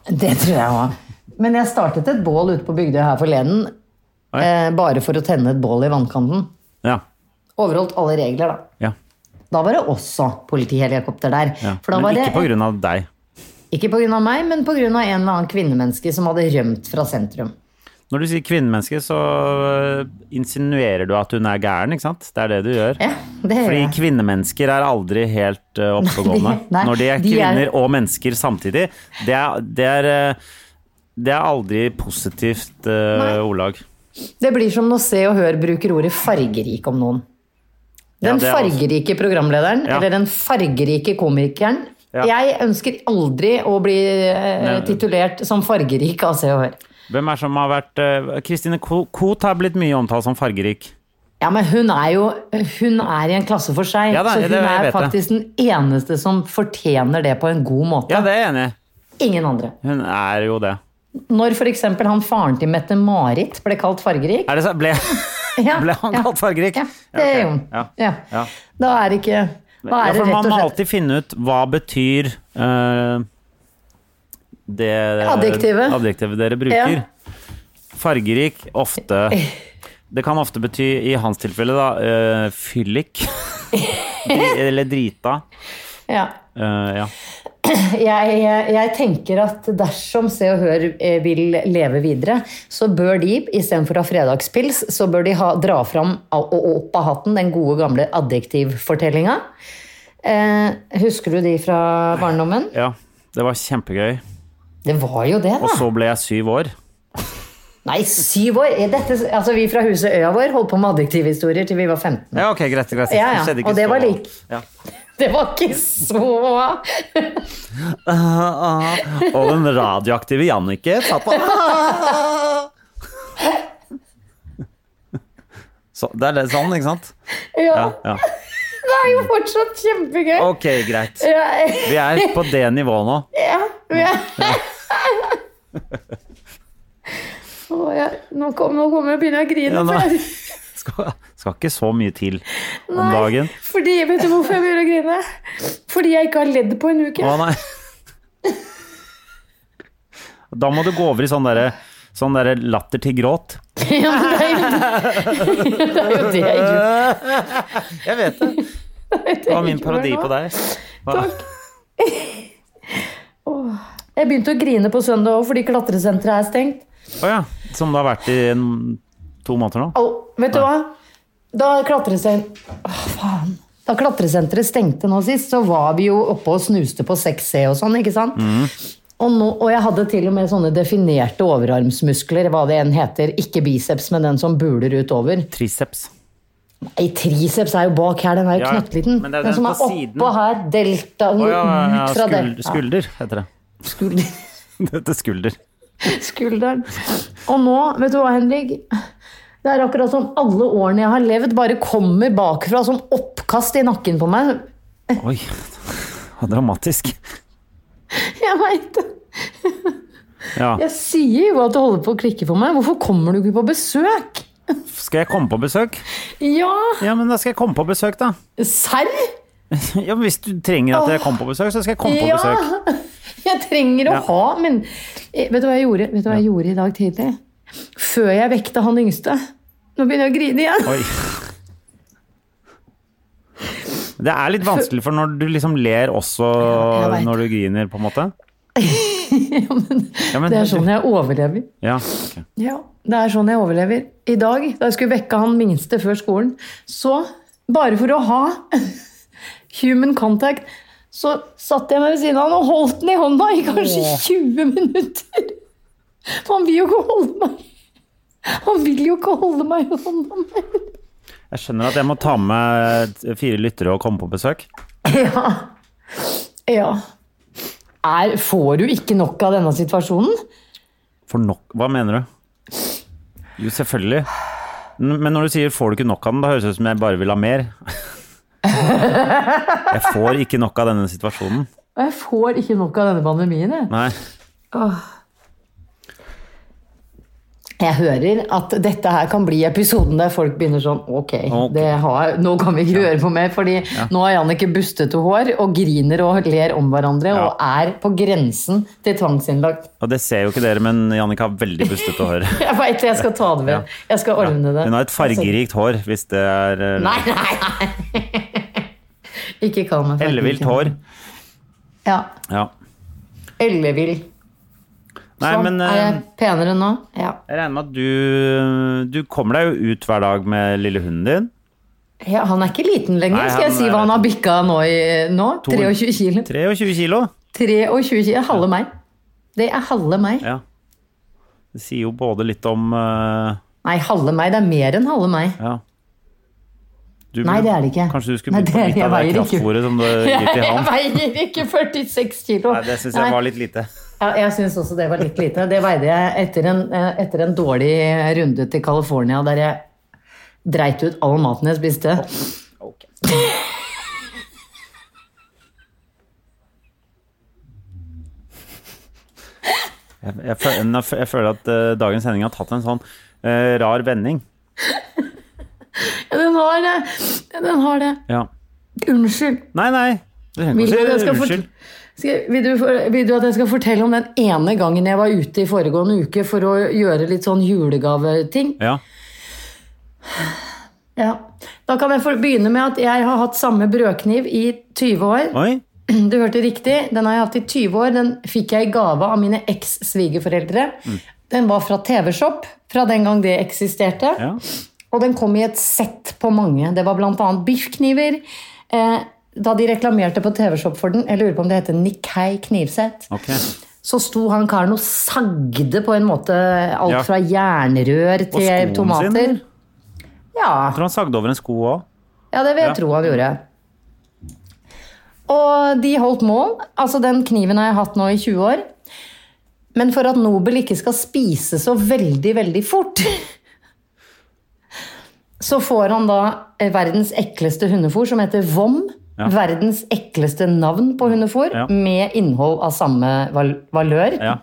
C: Det tror jeg òg. Men jeg startet et bål ute på Bygdøy her forleden.
D: Oi.
C: Eh, bare for å tenne et bål i vannkanten.
D: Ja.
C: Overholdt alle regler, da.
D: ja.
C: Da var det også politihelikopter der.
D: ja.
C: For da
D: Men
C: var det,
D: ikke på grunn av deg.
C: ikke på grunn av meg, men på grunn av en eller annen kvinnemenneske som hadde rømt fra sentrum.
D: Når du sier kvinnemenneske, så eh, insinuerer du at hun er gæren, ikke sant? Det er det du gjør.
C: Ja, det gjør
D: Fordi
C: jeg.
D: kvinnemennesker er aldri helt eh, oppegående.
C: Nei, de- nei,
D: Når de er
C: de er-
D: kvinner og mennesker samtidig, det er, det er, eh, det er aldri positivt eh, ordlag.
C: Det blir som når Se og Hør bruker ordet fargerik om noen.
D: Ja,
C: Den
D: det er også-
C: fargerike programlederen,
D: Ja.
C: eller den fargerike komikeren.
D: Ja.
C: Jeg ønsker aldri å bli eh,
D: Nei.
C: titulert som fargerik av Se og Hør.
D: Hvem er som har vært eh, Kristine Ko- Koht har blitt mye omtalt som fargerik.
C: Ja, men hun er jo hun er i en klasse for seg,
D: Ja da,
C: så
D: det-
C: hun
D: jeg
C: er
D: vet det.
C: faktisk den eneste som fortjener det på en god måte.
D: Ja, det er jeg enig i.
C: Ingen andre.
D: Hun er jo det.
C: Når f.eks. han faren til Mette-Marit ble kalt fargerik
D: Er det så? Ble,
C: Ja,
D: ble han
C: ja.
D: kalt fargerik?
C: Ja, det
D: ok.
C: gjorde hun.
D: Ja.
C: Ja.
D: Ja.
C: Da er det ikke Da
D: Ja,
C: er det
D: for
C: rett
D: man
C: og
D: må
C: slett
D: alltid finne ut hva betyr eh, det eh,
C: Adjektivet.
D: adjektivet dere bruker.
C: Ja.
D: Fargerik ofte Det kan ofte bety, i hans tilfelle, da, eh, fyllik. Eller drita.
C: ja.
D: Eh, ja.
C: jeg, jeg, jeg tenker at dersom Se og Hør eh, vil leve videre, så bør de istedenfor å ha fredagspils, så bør de ha, dra fram av- og opp av hatten den gode gamle adjektivfortellinga. Eh, husker du de fra barndommen?
D: ja. Det var kjempegøy.
C: Det var jo det,
D: Og
C: da.
D: så ble jeg syv år.
C: Nei, syv år! Er Dette, altså, vi fra huset Øya vår holdt på med adjektivhistorier til vi var 15.
D: Ja, ok, greit, greit.
C: Ja, ja.
D: Skjedde ikke
C: Og det
D: så-
C: var lik.
D: Ja.
C: Det var ikke så
D: Og den radioaktive Jannicke satt på så, Det er det sånn, ikke sant?
C: Ja,
D: Ja, ja.
C: det er jo fortsatt kjempegøy.
D: Ok, greit.
C: Ja,
D: Vi er på det nivået nå.
C: ja, ja. Å, jeg, nå, kom, nå kommer jeg å begynne å grine.
D: Ja,
C: for
D: nei.
C: jeg-
D: Skal, skal ikke så mye til om dagen.
C: Fordi, Vet du hvorfor jeg begynner å grine? Fordi jeg ikke har ledd på en uke.
D: Å nei. Da må du gå over i sånn derre Sånn derre latter til gråt.
C: Ja, men det er jo det, er jo det jeg gjorde.
D: Jeg vet det. Det var min parodi på deg. Takk.
C: Jeg begynte å grine på søndag òg, fordi klatresenteret er stengt.
D: Å ja. Som det har vært i en, to måneder nå?
C: Au, vet du hva? Da klatresenteret faen. Da klatresenteret stengte nå sist, så var vi jo oppe og snuste på 6C og sånn, ikke sant?
D: Mhm.
C: Og, nå, og jeg hadde til og med sånne definerte overarmsmuskler, hva det enn heter. Ikke biceps, men den som buler utover.
D: Triceps.
C: Nei, triceps er jo bak her, den er jo
D: Ja,
C: knøttliten.
D: men
C: Den,
D: det er den
C: som
D: på
C: er oppå
D: siden.
C: her, delta,
D: Å ja, ja,
C: ut
D: ja.
C: fra
D: Skulder,
C: delta.
D: skulder heter det.
C: Skulder.
D: Dette er skulder.
C: skulderen. Og nå, vet du hva, Henrik? Det er akkurat som alle årene jeg har levd, bare kommer bakfra som oppkast i nakken på meg.
D: Oi. Dramatisk.
C: Jeg vet det.
D: Ja.
C: Jeg sier jo at det holder på å klikke for meg. Hvorfor kommer du ikke på besøk?
D: Skal jeg komme på besøk?
C: Ja,
D: Ja, men da skal jeg komme på besøk, da.
C: serr?
D: Ja, men Hvis du trenger at jeg kommer på besøk, så skal jeg komme på
C: Ja.
D: besøk.
C: Jeg trenger å ha, men eh, Vet du hva jeg gjorde, vet du hva jeg gjorde i dag tidlig? Før jeg vekte han yngste. Nå begynner jeg å grine igjen.
D: Oi. Det er litt vanskelig, for når du liksom ler også
C: jeg vet.
D: når du griner, på en måte.
C: Ja, men,
D: Ja, men-
C: det er sånn jeg overlever.
D: Ja, ok.
C: Ja, det er sånn jeg overlever. I dag, da jeg skulle vekke han minste før skolen, så bare for å ha human contact, så satt jeg meg ved siden av han og holdt den i hånda i kanskje 20 minutter. For han vil jo ikke holde meg. Han vil jo ikke holde meg i hånda mer.
D: Jeg skjønner at jeg må ta med fire lyttere og komme på besøk.
C: Ja. ja. Er, får du ikke nok av denne situasjonen?
D: For nok Hva mener du? Jo, selvfølgelig. N- Men når du sier 'får du ikke nok av den', da høres det ut som jeg bare vil ha mer. Jeg får ikke nok av denne situasjonen.
C: Jeg får ikke nok av denne pandemien, jeg.
D: Nei.
C: Jeg hører at dette her kan bli episoden der folk begynner sånn Ok,
D: Ok.
C: Det har, nå kan vi ikke høre på mer, fordi nå har Jannicke bustete hår og griner og ler om hverandre
D: Ja.
C: og er på grensen til tvangsinnlagt.
D: Og det ser jo ikke dere, men Jannicke har veldig bustete hår.
C: Jeg veit det, jeg skal ta det med. Jeg skal ordne det.
D: Hun har et fargerikt hår, hvis det er eh,
C: Nei, nei, nei! Ikke kall meg fargerik.
D: Ellevilt hår.
C: Ja.
D: Ja.
C: Ellevill.
D: Nei,
C: Sånn.
D: men
C: er
D: eh,
C: jeg penere nå? Ja.
D: jeg regner med at du Du kommer deg jo ut hver dag med lille hunden din.
C: ja. Han er ikke liten lenger.
D: Nei,
C: Skal jeg
D: han
C: si
D: er-
C: hva han har bikka nå? I, nå? 23 kilo.
D: 23 kilo.
C: 23 kilo. Halve meg. Det er halve meg.
D: Ja. Det sier jo både litt om eh,
C: Nei, halve meg. Det er mer enn halve meg.
D: Ja. Du
C: Nei,
D: burde-
C: det er det ikke.
D: Kanskje du skulle
C: Nei, det
D: begynt på
C: er-
D: litt
C: jeg
D: av det
C: veier ikke.
D: kraftfôret som du gir til
C: Jeg
D: han?
C: veier ikke 46 kilo.
D: Nei, det syns jeg var litt lite.
C: Ja, jeg syns også det var litt lite. Det veide jeg etter en, eh, etter en dårlig runde til California der jeg dreit ut all maten jeg spiste.
D: Jeg, jeg, føler, jeg føler at eh, dagens sending har tatt en sånn eh, rar vending.
C: Ja, Den har det! Ja, Den har det.
D: Ja.
C: Unnskyld.
D: Nei, nei. Du trenger
C: Vil du, at
D: ikke å
C: jeg
D: si
C: skal
D: unnskyld.
C: fort- skal, vil, du, for- vil du at jeg skal fortelle om den ene gangen jeg var ute i foregående uke for å gjøre litt sånn julegaveting?
D: Ja.
C: Ja. Da kan jeg få begynne med at jeg har hatt samme brødkniv i 20 år.
D: Oi.
C: Du hørte riktig. Den har jeg hatt i 20 år. Den fikk jeg i gave av mine eks-svigerforeldre.
D: Mm.
C: Den var fra TV-Shop, fra den gang det eksisterte.
D: Ja.
C: Og den kom i et sett på mange. Det var bl.a. biffkniver. Eh, da de reklamerte på TV-Shop for den, jeg lurer på om det heter Nikkei knivsett,
D: Ok.
C: så sto han karen og sagde på en måte alt
D: Ja.
C: fra jernrør
D: Og skoen
C: til tomater.
D: sin?
C: Ja.
D: Jeg tror han sagde over en sko òg.
C: Ja, det vil jeg
D: Ja.
C: tro han gjorde. Og de holdt mål. Altså, den kniven har jeg hatt nå i 20 år. Men for at Nobel ikke skal spise så veldig, veldig fort, så får han da eh, verdens ekleste hundefôr, som heter Vom.
D: Ja.
C: Verdens ekleste navn på hundefôr,
D: Ja.
C: med innhold av samme val valør.
D: Ja.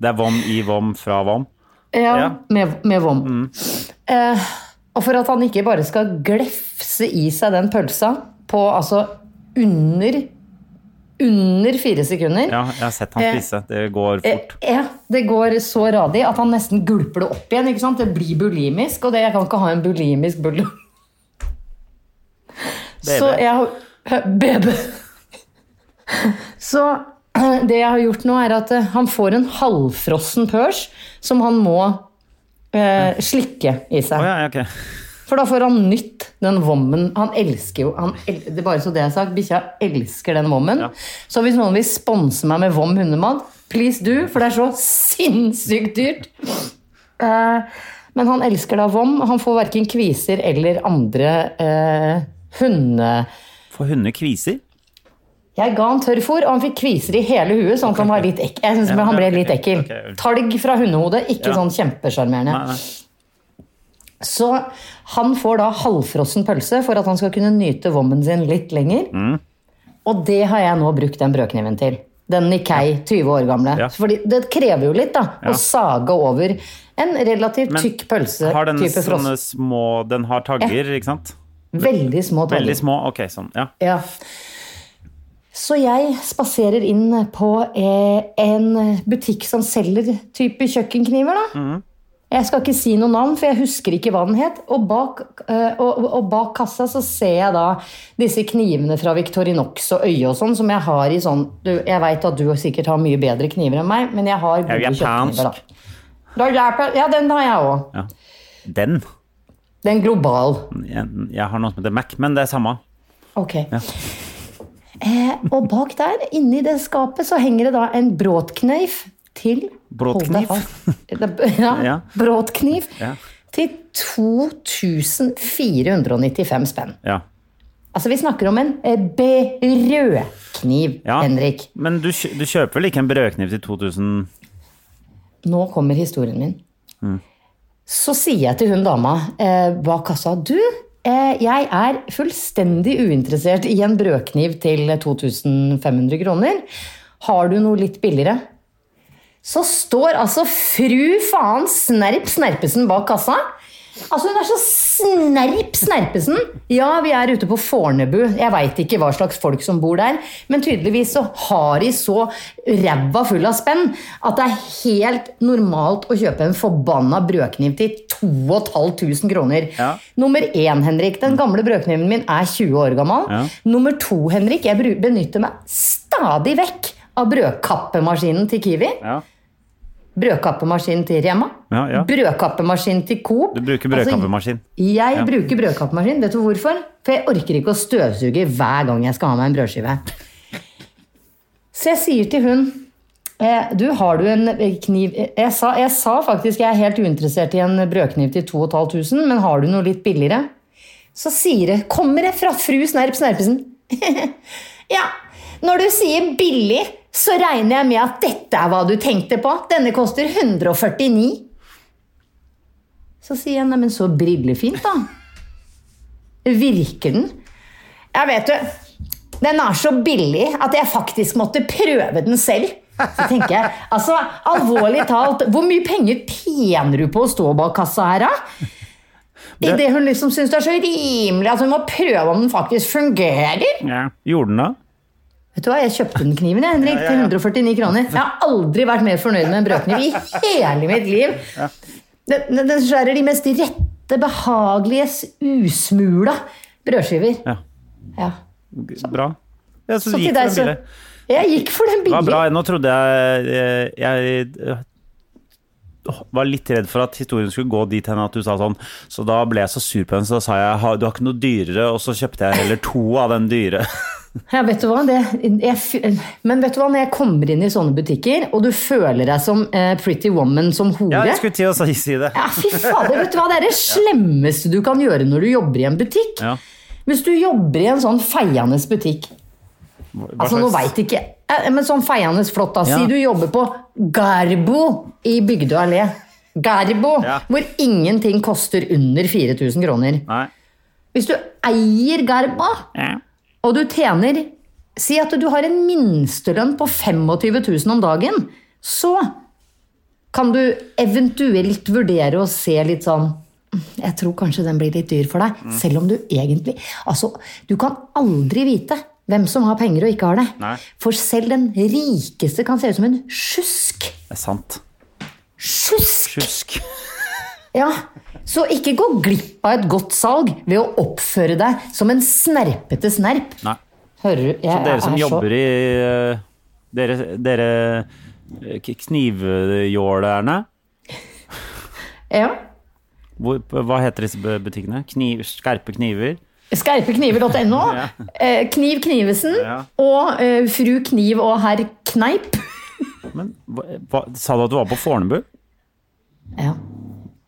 D: Det er vom i vom fra vom.
C: Ja,
D: Ja.
C: Med, med vom. Eh, og for at han ikke bare skal glefse i seg den pølsa på altså under under fire sekunder.
D: Ja, jeg har sett
C: Eh,
D: han spise. Det går fort.
C: Ja, det går så radig at han nesten gulper det opp igjen. ikke sant? Det blir bulimisk, og det, jeg kan ikke ha en bulimisk bulldog. Så jeg har BB. Så eh, det jeg har gjort nå, er at eh, han får en halvfrossen pørs som han må eh, slikke i
D: Å
C: seg.
D: ja, ja, ok.
C: For da får han nytt den vommen. Han elsker jo han el det er Bare så det er sagt, bikkja elsker den vommen.
D: Ja.
C: Så hvis noen vil sponse meg med vom hundemat, please do, for det er så sinnssykt dyrt. Eh, men han elsker da vom. Han får verken kviser eller andre eh, hunde...
D: Får hunder kviser?
C: Jeg ga han tørrfôr, og han fikk kviser i hele huet, så han kan være litt ekkel. Jeg synes
D: Ja,
C: han ble
D: ok,
C: litt
D: ok,
C: ekkel.
D: ok, unnskyld.
C: Talg fra hundehodet, ikke
D: Ja.
C: sånn
D: Nei,
C: kjempesjarmerende.
D: nei.
C: Så han får da halvfrossen pølse for at han skal kunne nyte vommen sin litt lenger.
D: Mm.
C: Og det har jeg nå brukt den brødkniven til. Den Nikkei, 20 år gamle.
D: Ja.
C: Fordi det krever jo litt, da.
D: Ja.
C: Å sage over en relativt
D: Men
C: tykk pølse.
D: Har den
C: type frossen.
D: sånne små Den har tagger, ikke sant?
C: Veldig små tagger.
D: Veldig små. Ok, sånn. Ja.
C: Ja. Så jeg spaserer inn på eh, en butikk som selger type kjøkkenkniver, da.
D: Mm.
C: Jeg skal ikke si noe navn, for jeg husker ikke hva den het. Og bak, eh, og, og bak kassa så ser jeg da disse knivene fra Victorinox og Øye og sånn, som jeg har i sånn du, Jeg veit at du sikkert har mye bedre kniver enn meg, men jeg har
D: Jeg er
C: gode
D: japansk.
C: kjøkkenkniver, da. Da er jeg- Ja, den har jeg òg.
D: Den.
C: Den global.
D: Jeg, jeg har noe som heter Mac, men det er samme.
C: Ok. Eh, og bak der, inni det skapet, så henger det da en bråtkniv til
D: Bråtkniv?
C: Hold deg fast. Ja,
D: Ja.
C: bråtkniv.
D: Ja.
C: Til 2495 spenn.
D: Ja.
C: Altså, vi snakker om en eh, brødkniv,
D: ja.
C: Henrik.
D: Men du, kjø- du kjøper vel ikke en brødkniv til 2000
C: Nå kommer historien min. Så sier jeg til hun dama eh, bak kassa Du, eh, jeg er fullstendig uinteressert i en brødkniv til 2500 kroner. Har du noe litt billigere? Så står altså fru faen Snerp Snerpesen bak kassa. Altså Hun er så snerp Snerpesen! Ja, vi er ute på Fornebu. Jeg veit ikke hva slags folk som bor der, men tydeligvis så har de så ræva full av spenn at det er helt normalt å kjøpe en forbanna brødkniv til 2500 kroner.
D: Ja.
C: Nummer én, Henrik. Den gamle brødkniven min er 20 år gammel.
D: Ja.
C: Nummer to, Henrik. Jeg bru- benytter meg stadig vekk av brødkappemaskinen til Kiwi.
D: Ja.
C: Brødkappemaskin til Rema.
D: Ja, ja.
C: Brødkappemaskin til Coop.
D: Du bruker brødkappemaskin.
C: Altså, jeg bruker brødkappemaskin. Vet du hvorfor? For jeg orker ikke å støvsuge hver gang jeg skal ha meg en brødskive. Så jeg sier til hun eh, Du, har du en eh, kniv Eh, Jeg sa, jeg sa faktisk jeg er helt uinteressert i en brødkniv til 2500, men har du noe litt billigere? Så sier det Kommer det fra fru Snerp Snerpesen? ja, når du sier billig, så regner jeg med at dette er hva du tenkte på. Denne koster 149. Så sier jeg, neimen så brillefint, da. Virker den? Ja, vet du, den er så billig at jeg faktisk måtte prøve den selv. Så tenker jeg, altså alvorlig talt, hvor mye penger tjener du på å stå bak kassa her, da? I det hun liksom syns det er så rimelig at hun må prøve om den faktisk fungerer.
D: Ja. Gjorde den det?
C: Vet du hva, Jeg kjøpte den kniven jeg, Henrik, til 149 kroner. Jeg har aldri vært mer fornøyd med en brødkniv i hele mitt liv. Den, den, den skjærer de mest rette, behagelige, usmula brødskiver.
D: Ja.
C: Ja.
D: Bra. Ja, så,
C: Så
D: du
C: til deg,
D: gikk for den
C: så
D: billig.
C: Jeg gikk for den
D: Det var bra.
C: billige.
D: Nå trodde jeg eh, Jeg eh, åh, var litt redd for at historien skulle gå dit hen at du sa sånn. Så da ble jeg så sur på henne, så da sa jeg "Ha- du har ikke noe dyrere, og så kjøpte jeg heller to av den dyre.
C: Ja, vet du hva? Det, jeg, f- men vet du hva, når jeg kommer inn i sånne butikker, og du føler deg som eh, pretty woman, som hore
D: Ja, jeg skulle til å si- si det.
C: Ja, fy fader, vet du hva? Det er det slemmeste du kan gjøre når du jobber i en butikk.
D: Ja.
C: Hvis du jobber i en sånn feiende butikk
D: Hva
C: Altså, nå
D: slags-
C: veit ikke eh, Men sånn feiende flott, da. Si
D: Ja.
C: du jobber på Garbo i Bygdøy allé. Garbo,
D: Ja.
C: hvor ingenting koster under 4000 kroner.
D: Nei.
C: Hvis du eier Garbo, og du tjener Si at du har en minstelønn på 25 000 om dagen. Så kan du eventuelt vurdere å se litt sånn «Mm, Jeg tror kanskje den blir litt dyr for deg. Selv om du egentlig Altså, du kan aldri vite. hvem som har penger og ikke har det.
D: Nei.
C: For selv den rikeste kan se ut som en sjusk.
D: Det er sant.
C: Sjusk!
D: Sjusk.
C: Ja. Så ikke gå glipp av et godt salg ved å oppføre deg som en snerpete snerp.
D: Nei.
C: Hører du? Jeg
D: Dere som
C: er så-
D: jobber i eh, Dere, dere eh, k- knivjålerne
C: Ja.
D: Hvor, Hva heter disse bu- butikkene? Kniv, skarpe kniver?
C: Skerpekniver.no.
D: Ja.
C: eh, Kniv Knivesen.
D: Ja.
C: Og eh, Fru Kniv og Herr Kneip.
D: Men hva, hva, Sa du at du var på Fornebu?
C: Ja.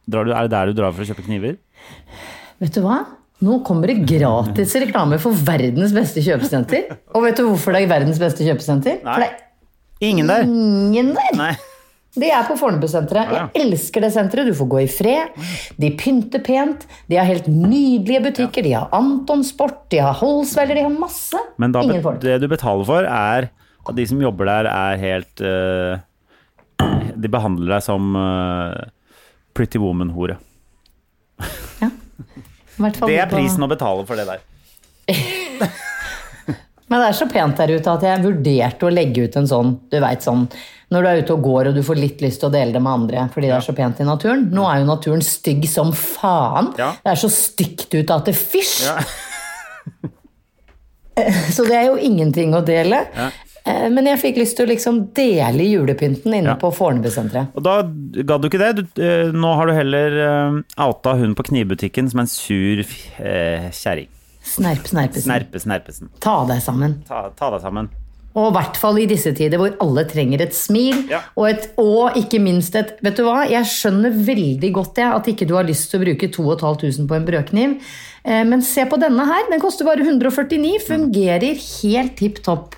D: Drar du, er det der du drar for å kjøpe kniver?
C: Vet du hva? Nå kommer det gratis reklame for verdens beste kjøpesenter. Og vet du hvorfor det er verdens beste kjøpesenter? For det er
D: Ingen der!
C: Mm. ingen der!
D: Nei.
C: Det er på Fornebu-senteret.
D: Ja, ja.
C: Jeg elsker det senteret. Du får gå i fred. De pynter pent. De har helt nydelige butikker. De har Anton Sport, de har Holsweiler, de har masse.
D: Men da,
C: Ingen
D: be-
C: folk.
D: det du betaler for, er at de som jobber der, er helt eh, De behandler deg som eh, pretty woman-hore.
C: I hvert fall
D: Det er
C: på-
D: prisen å betale for det der.
C: Men det er så pent der ute at jeg vurderte å legge ut en sånn, du veit sånn Når du er ute og går og du får litt lyst til å dele det med andre fordi det er så pent i naturen. Nå er jo naturen stygg som faen.
D: Ja.
C: Det er så stygt ut at det fysj! så det er jo ingenting å dele. Eh, Men jeg fikk lyst til å liksom dele julepynten inne
D: Ja.
C: på Fornebusenteret.
D: Og da gadd du ikke det. Du, eh, nå har du heller eh, outa hun på knivbutikken som en sur uh, kjerring.
C: Snerp, snerpesen.
D: Snerpe Snerpesen.
C: Ta deg sammen.
D: Ta, ta deg sammen.
C: Og i hvert fall i disse tider hvor alle trenger et smil,
D: Ja.
C: og, et, og ikke minst et Vet du hva, jeg skjønner veldig godt jeg, at ikke du har lyst til å bruke 2500 på en brødkniv, eh, men se på denne her. Den koster bare 149. Fungerer helt tipp topp.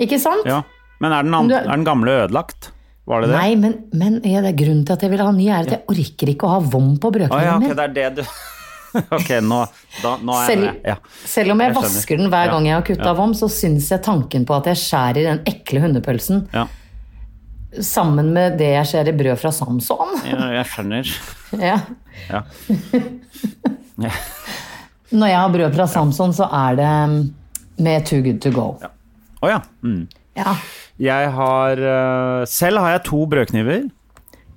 C: Ikke sant?
D: Ja. Men er den, an
C: Du er-
D: er den gamle ødelagt? Var det det?
C: Nei, men, men ja, det er grunnen til at jeg vil ha ny, er at jeg orker ikke å ha vom på brødkniven
D: Å Ah, ja, ok,
C: min.
D: det er det du Ok, nå, da, nå er jeg
C: Selv,
D: med. Ja.
C: selv om jeg,
D: Jeg skjønner.
C: vasker den hver
D: Ja.
C: gang jeg har kutta
D: Ja.
C: vom, så syns jeg tanken på at jeg skjærer den ekle hundepølsen
D: Ja.
C: sammen med det jeg ser i brød fra Samson.
D: ja, jeg skjønner.
C: Ja.
D: Ja. Ja.
C: Når jeg har brød fra Samson, så er det um, med Too Good To Go.
D: Å ja. Mm.
C: Ja,
D: Jeg har eh, Selv har jeg to brødkniver.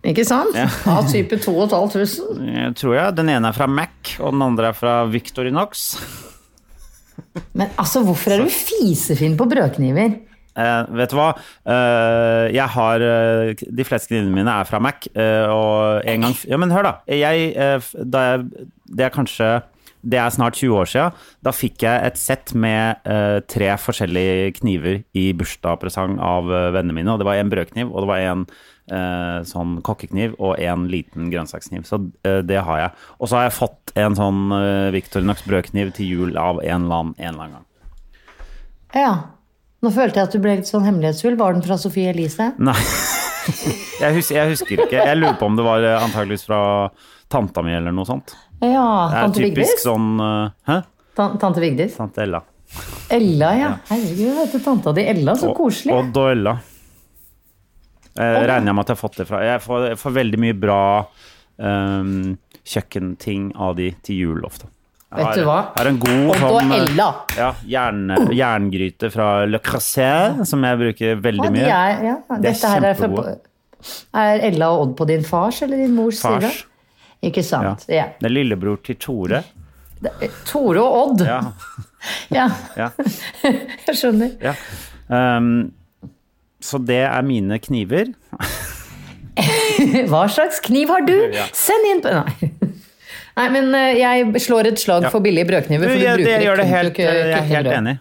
C: Ikke sant? Av type 2500.
D: Jeg tror jeg. Den ene er fra Mac, og den andre er fra Victorinox.
C: Men altså, hvorfor er du fisefin på brødkniver?
D: Eh, vet du hva? Eh, jeg har eh, De fleste knivene mine er fra Mac. eh, og en gang Ja, men hør, da. Jeg, eh, f- da jeg, det er kanskje Det er snart 20 år sia. Da fikk jeg et sett med eh, tre forskjellige kniver i bursdagspresang av eh, vennene mine. Og det var en brødkniv, og det var en eh, sånn kokkekniv og en liten grønnsakskniv. Så eh, det har jeg. Og så har jeg fått en sånn eh, Victorinox brødkniv til jul av en eller annen, en eller annen gang.
C: Ja. Nå følte jeg at du ble litt sånn hemmelighetsfull. Var den fra Sophie Elise?
D: Nei. Jeg husker, jeg husker ikke. Jeg lurer på om det var eh, antageligvis fra tanta mi eller noe sånt.
C: Ja.
D: Det er
C: Tante
D: typisk
C: Vigdis?
D: sånn eh, Hæ?
C: Tan tante Vigdis?
D: Tante Ella.
C: Ella, ja. Herregud, hva heter tanta di Ella? Så
D: Og-
C: koselig.
D: Odd og Ella. Eh, regner jeg med at jeg har fått det fra. Jeg får, jeg får veldig mye bra eh, kjøkkenting av de til jul ofte. Jeg
C: Vet du hva?
D: Jeg har en god
C: Odd og
D: sånn, eh,
C: Ella.
D: Ja, jern, jerngryte fra Le Crasset, som jeg bruker veldig
C: Ja, de
D: mye.
C: er, ja.
D: De er
C: Dette her er,
D: kjempegode.
C: for, er Ella og Odd på din fars eller din mors side?
D: Fars.
C: Ikke
D: Ja.
C: sant. Ja.
D: Det er lillebror til Tore.
C: Tore og Odd.
D: Ja,
C: Ja,
D: ja.
C: jeg skjønner.
D: Ja. Ehm, så det er mine kniver.
C: Hva slags kniv har du? Send inn på Nei. Nei, men eh, jeg slår et slag
D: Ja.
C: for billige brødkniver. For
D: Du,
C: du
D: jeg,
C: bruker
D: det
C: ikke
D: gjør det
C: kun til
D: helt,
C: å kutte
D: jeg er helt
C: brød.
D: enig.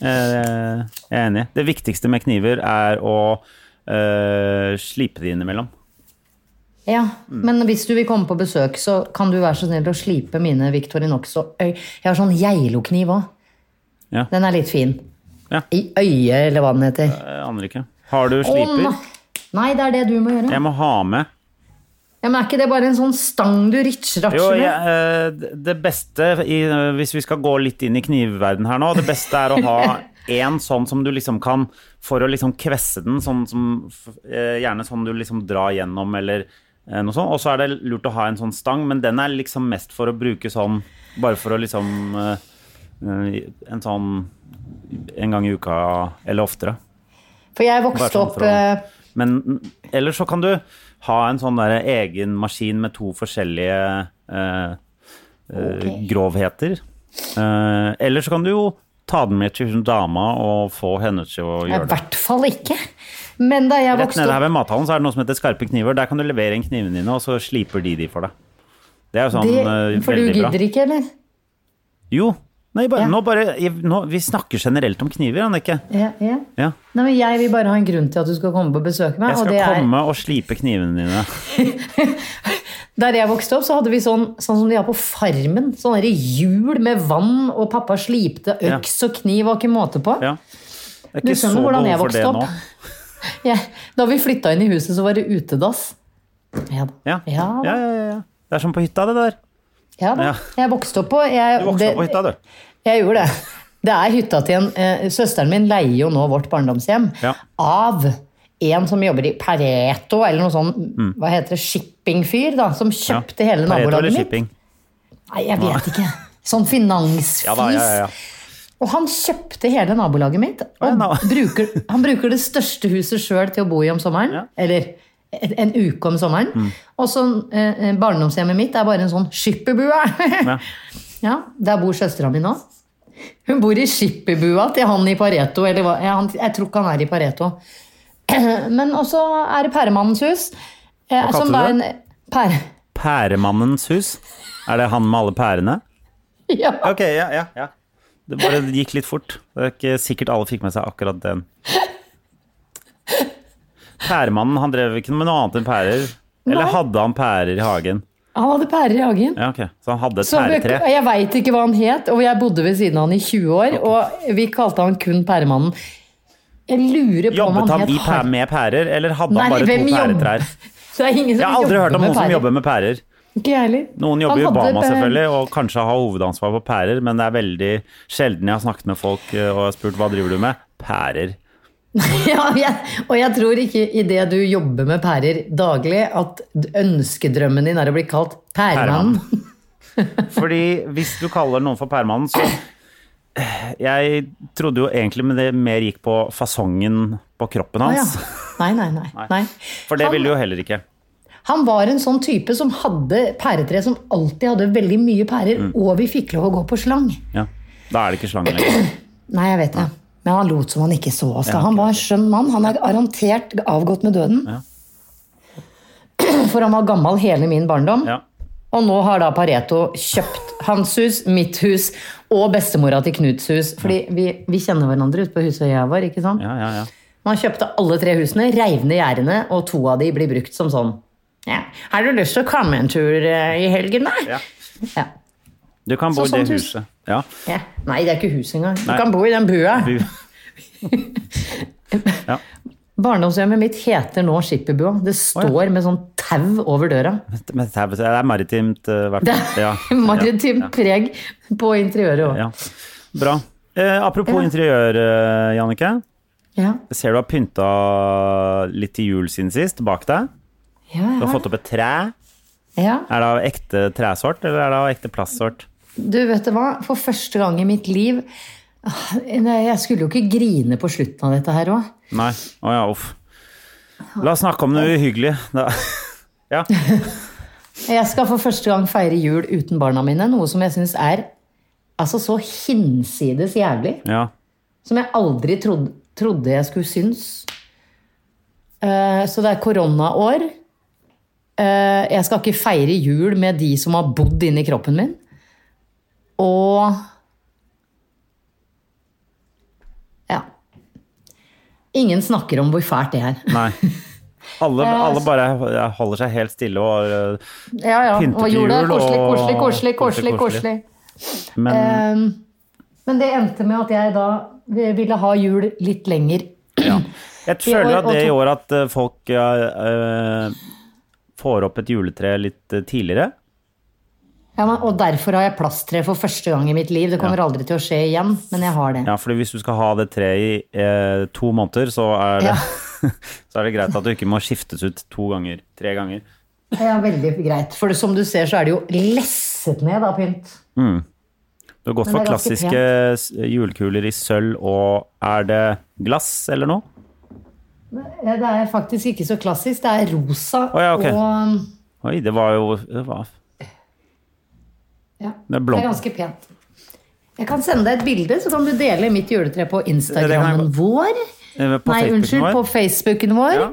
D: Eh, Jeg er enig. Det viktigste med kniver er å eh, slipe de innimellom.
C: Ja,
D: Mm.
C: Men hvis du vil komme på besøk, så kan du være så snill å slipe mine Victorinox og øy. Jeg har sånn Geilo-kniv òg.
D: Ja.
C: Den er litt fin.
D: Ja.
C: I øyet, eller hva den heter.
D: Jeg aner Eh, ikke. Har du
C: Å,
D: sliper?
C: nei. nei, det er det du må gjøre.
D: Jeg må ha med.
C: Ja, men Er ikke det bare en sånn stang du ritsjer
D: Jo,
C: med?
D: jeg, eh, det beste i, eh, Hvis vi skal gå litt inn i knivverden her nå, det beste er å ha en sånn som du liksom kan For å liksom kvesse den, sånn som eh, Gjerne sånn du liksom drar gjennom, eller eh, noe sånt. Og så er det lurt å ha en sånn stang, men den er liksom mest for å bruke sånn Bare for å liksom eh, eh, en sånn en gang i uka eller oftere.
C: For jeg
D: Bare
C: vokste
D: sånn
C: opp
D: for å-
C: eh,
D: Men ellers så kan du ha en sånn der egen maskin med to forskjellige eh, eh,
C: Ok.
D: grovheter. Eh, eller så kan du jo ta den med til hun dama og få henne til å
C: nei, I
D: gjøre det.
C: hvert fall ikke. Men da jeg
D: Rett
C: vokste
D: nede her
C: opp
D: ved mathallen så er det noe som heter skarpe kniver. Der kan du levere inn knivene dine, og så sliper de de for deg. Det er jo sånn eh,
C: det, For du
D: veldig bra.
C: gidder ikke, eller?
D: Jo. Nei, bare,
C: Ja.
D: nå bare, jeg- nå, vi snakker generelt om kniver, Annike.
C: Ja, ja.
D: Ja.
C: Nei, men jeg vil bare ha en grunn til at du skal komme på besøk med meg.
D: Jeg skal
C: og det er,
D: komme og slipe knivene dine.
C: Der jeg vokste opp, så hadde vi sånn, sånn som de har på farmen. Sånne der hjul med vann, og pappa slipte øks og kniv og ikke måte på.
D: Ja. Det er
C: Du
D: ikke så
C: skjønner hvordan jeg
D: behov for det
C: vokste
D: nå.
C: opp. Ja, da vi flytta inn i huset, så var det utedass. Ja da.
D: Ja.
C: Ja,
D: Ja,
C: da.
D: ja, ja, ja. Det er som på hytta, det der.
C: Ja da.
D: Ja.
C: Jeg vokste opp på jeg,
D: Du vokste
C: det-
D: opp på hytta, du.
C: Jeg gjorde det. Det er hytta til en eh, Søsteren min leier jo nå vårt barndomshjem
D: Ja.
C: av en som jobber i Pareto, eller noe sånn hva heter det, shippingfyr, da, som kjøpte hele
D: Mm. Pareto eller
C: nabolaget mitt.
D: shipping.
C: Nei, jeg vet ikke. Sånn finansfis.
D: Ja da, ja, ja, ja.
C: Og han kjøpte hele nabolaget mitt. Og
D: ja, na-
C: bruker, han bruker det største huset sjøl til å bo i om sommeren. Eller en, en uke om sommeren.
D: Mm.
C: Og så eh, barndomshjemmet mitt er bare en sånn skipperbue. ja. der bor søstera mi nå. Hun bor i skipperbua til han i Pareto. Eller hva? Ja, han, jeg tror ikke han er i Pareto. Men også er det Pæremannens hus. eh,
D: Hva kalte
C: som
D: du
C: da
D: det?
C: en- Pære...
D: Pæremannens hus. Er det han med alle pærene?
C: Ja.
D: Ok, ja, ja, ja. Det bare gikk litt fort. Det er ikke sikkert alle fikk med seg akkurat den. Pæremannen, han drev ikke med noe annet enn pærer. Eller
C: Nei.
D: hadde han pærer i hagen?
C: Han hadde pærer i hagen.
D: Ja, ok. Så han hadde et
C: Så vi-
D: pæretre.
C: jeg veit ikke hva han het, og jeg bodde ved siden av han i 20 år. Og vi kalte han kun Pæremannen. Jeg lurer på om han
D: Jobbet han
C: het
D: i pæ med pærer, eller hadde
C: Nei,
D: han bare
C: hvem
D: to
C: jobber-
D: pæretrær?
C: Så det er ingen som
D: Jeg har aldri
C: jobber
D: hørt om
C: med
D: noen som
C: pærer.
D: jobber med pærer.
C: Ikke jeg heller.
D: Noen jobber i
C: Han hadde eh,
D: Obama
C: pæ-
D: selvfølgelig, og kanskje har hovedansvar på pærer, men det er veldig sjelden jeg har snakket med folk eh, og har spurt hva driver du med? Pærer.
C: Ja, jeg, og jeg tror ikke idet du jobber med pærer daglig, at d- ønskedrømmen din er å bli kalt Pæremannen.
D: Fordi hvis du kaller noen for pæremannen, så eh, Jeg trodde jo egentlig men det mer gikk på fasongen på kroppen
C: Å ja.
D: hans.
C: Nei, nei, nei. nei.
D: For det
C: Han-
D: ville du jo heller ikke.
C: Han var en sånn type som hadde pæretre som alltid hadde veldig mye
D: Mm.
C: pærer, og vi fikk lov å gå på slang.
D: Ja. Da er det ikke slangen lenger.
C: Nei, jeg vet det. Men han lot som han ikke så oss. da. Han var en skjønn mann. Han er garantert avgått med døden. For han var gammel hele min barndom.
D: Ja.
C: Og nå har da Pareto kjøpt hans hus, mitt hus og bestemora til Knuts hus. Fordi vi, vi kjenner hverandre ute på Husøya vår, ikke sant?
D: Ja, ja, ja.
C: Man kjøpte alle tre husene, reiv ned gjerdene, og to av de blir brukt som sånn. Ja. Har du lyst til å komme en tur eh, i helgen, da? Ja.
D: Du kan bo
C: Så
D: i det
C: sånt hus.
D: huset. Ja.
C: ja. Nei, det er ikke hus engang. Du
D: Nei.
C: kan bo i den bua.
D: Du,
C: Barndomshjemmet mitt heter nå Skipperbua. Det står
D: Å,
C: med sånn tau over døra.
D: men det er- det er maritimt, eh, i hvert
C: Det
D: fall.
C: er
D: Ja.
C: maritimt preg på interiøret òg. Ja.
D: Ja. Bra. Eh, apropos interiør, eh, Jannicke.
C: Ja.
D: Jeg ser du har pynta litt til jul siden sist bak deg.
C: Ja,
D: Du har fått opp et tre.
C: ja.
D: Er det av ekte tresort, eller er det av ekte plastsort?
C: Du, vet du hva? For første gang i mitt liv Ah, nei, Jeg skulle jo ikke grine på slutten av dette her òg.
D: Nei. Å ja, uff. La oss snakke om noe uhyggelig. Da. Ja.
C: Jeg skal for første gang feire jul uten barna mine, noe som jeg syns er altså så hinsides jævlig.
D: ja.
C: Som jeg aldri trodde, trodde jeg skulle synes. Eh, så det er koronaår. Eh, jeg skal ikke feire jul med de som har bodd inni kroppen min. Og Ja. Ingen snakker om hvor fælt det er.
D: Nei. Alle, alle bare holder seg helt stille og eh,
C: Ja, ja.
D: Pynte
C: Og
D: til
C: jula.
D: jul
C: Koselig,
D: og-
C: koselig, koselig, koselig.
D: koselig,
C: koselig.
D: Men
C: Ehm, men det endte med at jeg da ville ha jul litt lenger.
D: jeg føler
C: år
D: at det
C: og
D: i
C: to-
D: år at eh, folk eh, eh, får opp et juletre litt eh, tidligere.
C: Ja, men, og derfor har jeg plasttre for første gang i mitt liv. Det kommer aldri til å skje igjen, men jeg har det.
D: Ja, for hvis du skal ha det treet i eh, to måneder, så er, det, så er det greit at du ikke må skiftes ut to ganger, tre ganger.
C: Ja, veldig greit. For som du ser, så er det jo lesset ned av pynt.
D: Du har
C: Men
D: gått for
C: det er ganske
D: klassiske s- julekuler i sølv, og er det glass eller noe?
C: Ja, Eh, Det er faktisk ikke så klassisk. Det er rosa
D: Å ja, ok.
C: og
D: Oi, det var jo det var,
C: ja,
D: Det er
C: Det
D: blond.
C: er ganske pent. Jeg kan sende deg et bilde, så kan du dele mitt juletre på Instagrammen
D: Det- det kan jeg-
C: vår.
D: eh, på
C: Nei,
D: Facebooken
C: unnskyld,
D: vår.
C: på Facebooken vår.
D: Ja.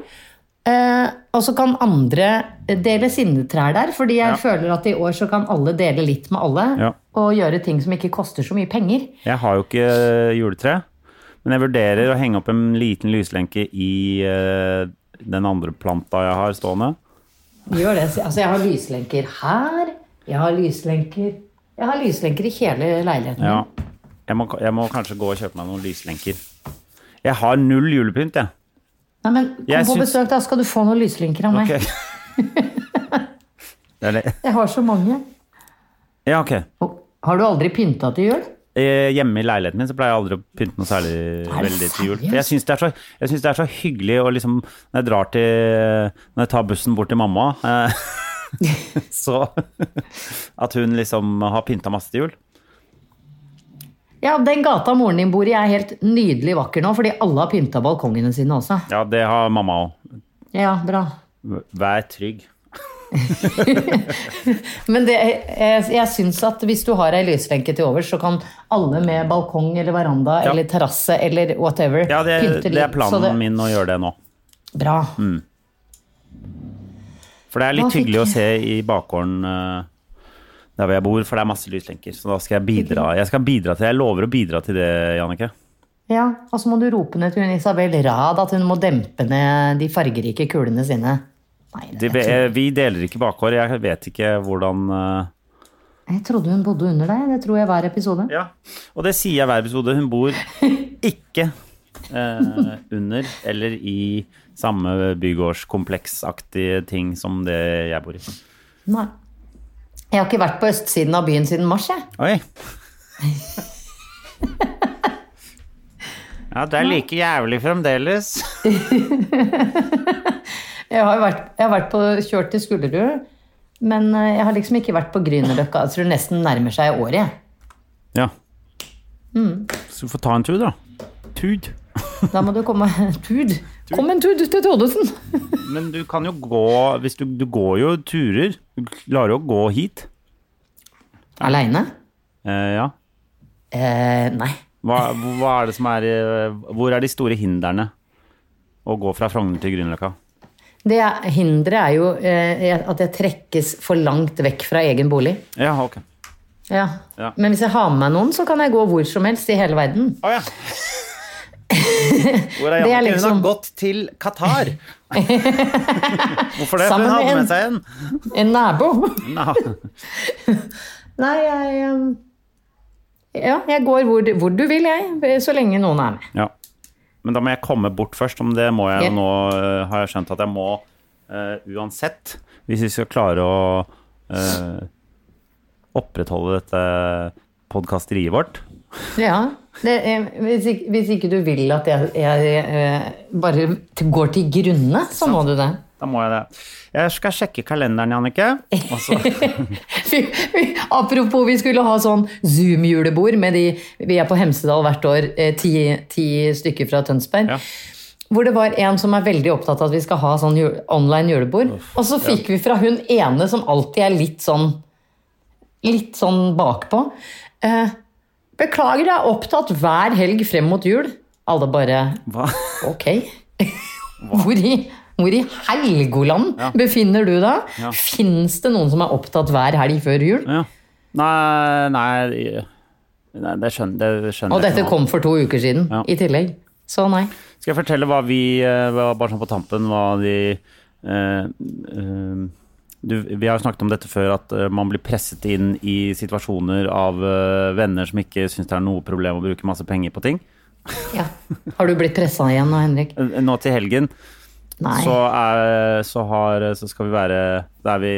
C: Eh, og så kan andre dele sine trær der, fordi jeg
D: Ja.
C: føler at i år så kan alle dele litt med alle.
D: Ja.
C: Og gjøre ting som ikke koster så mye penger.
D: Jeg har jo ikke eh, juletre, men jeg vurderer å henge opp en liten lyslenke i eh, den andre planta jeg har stående.
C: Gjør det. Altså, jeg har lyslenker her. Jeg har lyslenker Jeg har lyslenker i hele leiligheten.
D: Ja. Jeg må, jeg må kanskje gå og kjøpe meg noen lyslenker. Jeg har null julepynt, jeg.
C: Nei, men Kom
D: Jeg
C: på
D: syns-
C: besøk, da skal du få noen lyslenker av meg.
D: Ok. Det er det.
C: Jeg har så mange.
D: Ja, ok.
C: Og Har du aldri pynta til jul?
D: Eh, Hjemme i leiligheten min så pleier jeg aldri å pynte noe særlig veldig til jul.
C: seriøst?
D: For jeg syns det, er så- jeg syns det er så hyggelig å liksom Når jeg drar til Når jeg tar bussen bort til mamma, eh, så At hun liksom har pynta masse til jul.
C: Ja, Den gata moren din bor i er helt nydelig vakker nå, fordi alle har pynta balkongene sine også.
D: Ja, det har mamma
C: Ja, bra.
D: òg. Vær trygg.
C: Men det, jeg, jeg syns at hvis du har ei lyslenke til overs, så kan alle med balkong eller veranda
D: Ja.
C: eller terrasse eller whatever
D: Ja, det, det er
C: litt, så
D: planen
C: det-
D: min Mm. å gjøre det nå.
C: Bra.
D: For det er
C: Hva
D: litt
C: fikk
D: hyggelig å se i bakgården eh, der hvor jeg bor, for det er masse lyslenker. Så da skal jeg bidra. Jeg skal bidra til Jeg lover å bidra til det, Jannicke.
C: Ja, Og så må du rope ned til hun Isabel Rad at hun må dempe ned de fargerike kulene sine. Nei,
D: Det,
C: jeg, trodde,
D: jeg, vi deler ikke bakgård. Jeg vet ikke hvordan eh,
C: jeg trodde hun bodde under deg. Det tror jeg hver episode.
D: Ja. Og det sier jeg hver episode. Hun bor ikke eh, under eller i samme bygårdskompleksaktige ting som det jeg bor i.
C: Nei. Jeg har ikke vært på østsiden av byen siden mars, jeg.
D: Oi! Ja, det er like jævlig fremdeles.
C: Jeg har, jo vært, jeg har vært på, kjørt til Skullerud, men eh, jeg har liksom ikke vært på Grünerløkka. Jeg tror det nesten nærmer seg året. jeg.
D: Ja. Så du får ta en tur, da. Tud.
C: Da må du komme Tud! Kom en tur til Todesen!
D: Men du kan jo gå hvis du, du går jo turer. Du klarer jo å gå hit.
C: Aleine?
D: Eh, ja.
C: Eh, nei.
D: Hva, hva er det som er eh, Hvor er de store hindrene å gå fra Frogner til Grünerløkka?
C: Det jeg- hinderet er jo eh, at jeg trekkes for langt vekk fra egen bolig.
D: Ja, ok.
C: Ja.
D: Ja.
C: Men hvis jeg har med meg noen, så kan jeg gå hvor som helst i hele verden.
D: Å ja. Hvor er
C: Det er
D: Jannicke? Hun
C: liksom-
D: har gått til Qatar. Hvorfor det? For
C: Sammen
D: hun
C: med
D: hadde
C: en-
D: med seg en.
C: En nabo.
D: Nei.
C: Nei, jeg eh, Ja, jeg går hvor, du- hvor du vil, jeg. Så lenge noen er med.
D: Ja. Men da må jeg komme bort først, om det må jeg
C: Ja.
D: jo nå, eh, har jeg skjønt at jeg må eh, uansett. Hvis vi skal klare å eh, opprettholde dette podkasteriet vårt.
C: Ja. Det, eh, hvis, ikke, hvis ikke du vil at jeg, jeg eh, bare til, går til grunne, så må du det.
D: Da må jeg det. Jeg skal sjekke kalenderen, Jannicke. Og så
C: Vi- vi- Apropos, vi skulle ha sånn Zoom-julebord med de Vi er på Hemsedal hvert år, eh, ti, ti stykker fra Tønsberg.
D: Ja.
C: Hvor det var en som er veldig opptatt av at vi skal ha sånn jul, online julebord. og så fikk vi fra hun ene som alltid er litt sånn Litt sånn bakpå. Eh, beklager, jeg er opptatt hver helg frem mot jul. Alle bare
D: Hva?
C: Ok. Hvor i, hvor i Helgoland befinner du deg? Fins det noen som er opptatt hver helg før jul?
D: Ja. Nei, nei, nei det skjønner, det skjønner
C: Og
D: jeg
C: dette
D: ikke nå.
C: kom for to uker siden
D: Ja.
C: i tillegg. Så nei.
D: Skal jeg fortelle hva vi eh, hva- Bare sånn på tampen hva de eh, eh, du, Vi har jo snakket om dette før, at eh, man blir presset inn i situasjoner av eh, venner som ikke syns det er noe problem å bruke masse penger på ting.
C: Ja. Har du blitt pressa igjen nå, Henrik?
D: Eh, Nå til helgen
C: Nei.
D: så, er, så, har, så skal vi være Da er vi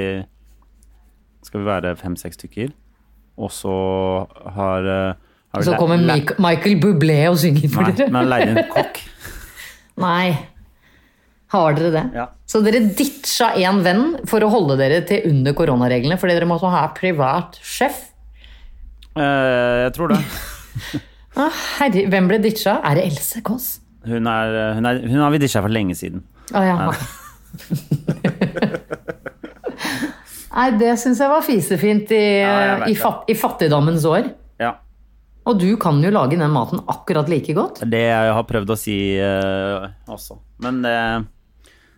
D: Skal vi være fem-seks stykker. Og så har, eh, har vi
C: Så
D: le-
C: kommer
D: le-
C: Mik- Michael Bublé og synger for
D: Nei,
C: dere.
D: men leid inn kokk.
C: Nei. Har dere det?
D: Ja.
C: Så dere ditcha én venn for å holde dere til under koronareglene fordi dere måtte ha privat sjef?
D: Eh, jeg tror det.
C: Herre, hvem ble ditcha? Er det Else Kåss?
D: Hun, er, hun, er, hun har vi ditcha for lenge siden.
C: Å ja. Nei, det syns jeg var fisefint i, eh,
D: Ja, jeg vet
C: i,
D: det.
C: fat, i fattigdommens år.
D: Ja.
C: Og du kan jo lage den maten akkurat like godt.
D: Det jeg har prøvd å si eh, også. Men eh,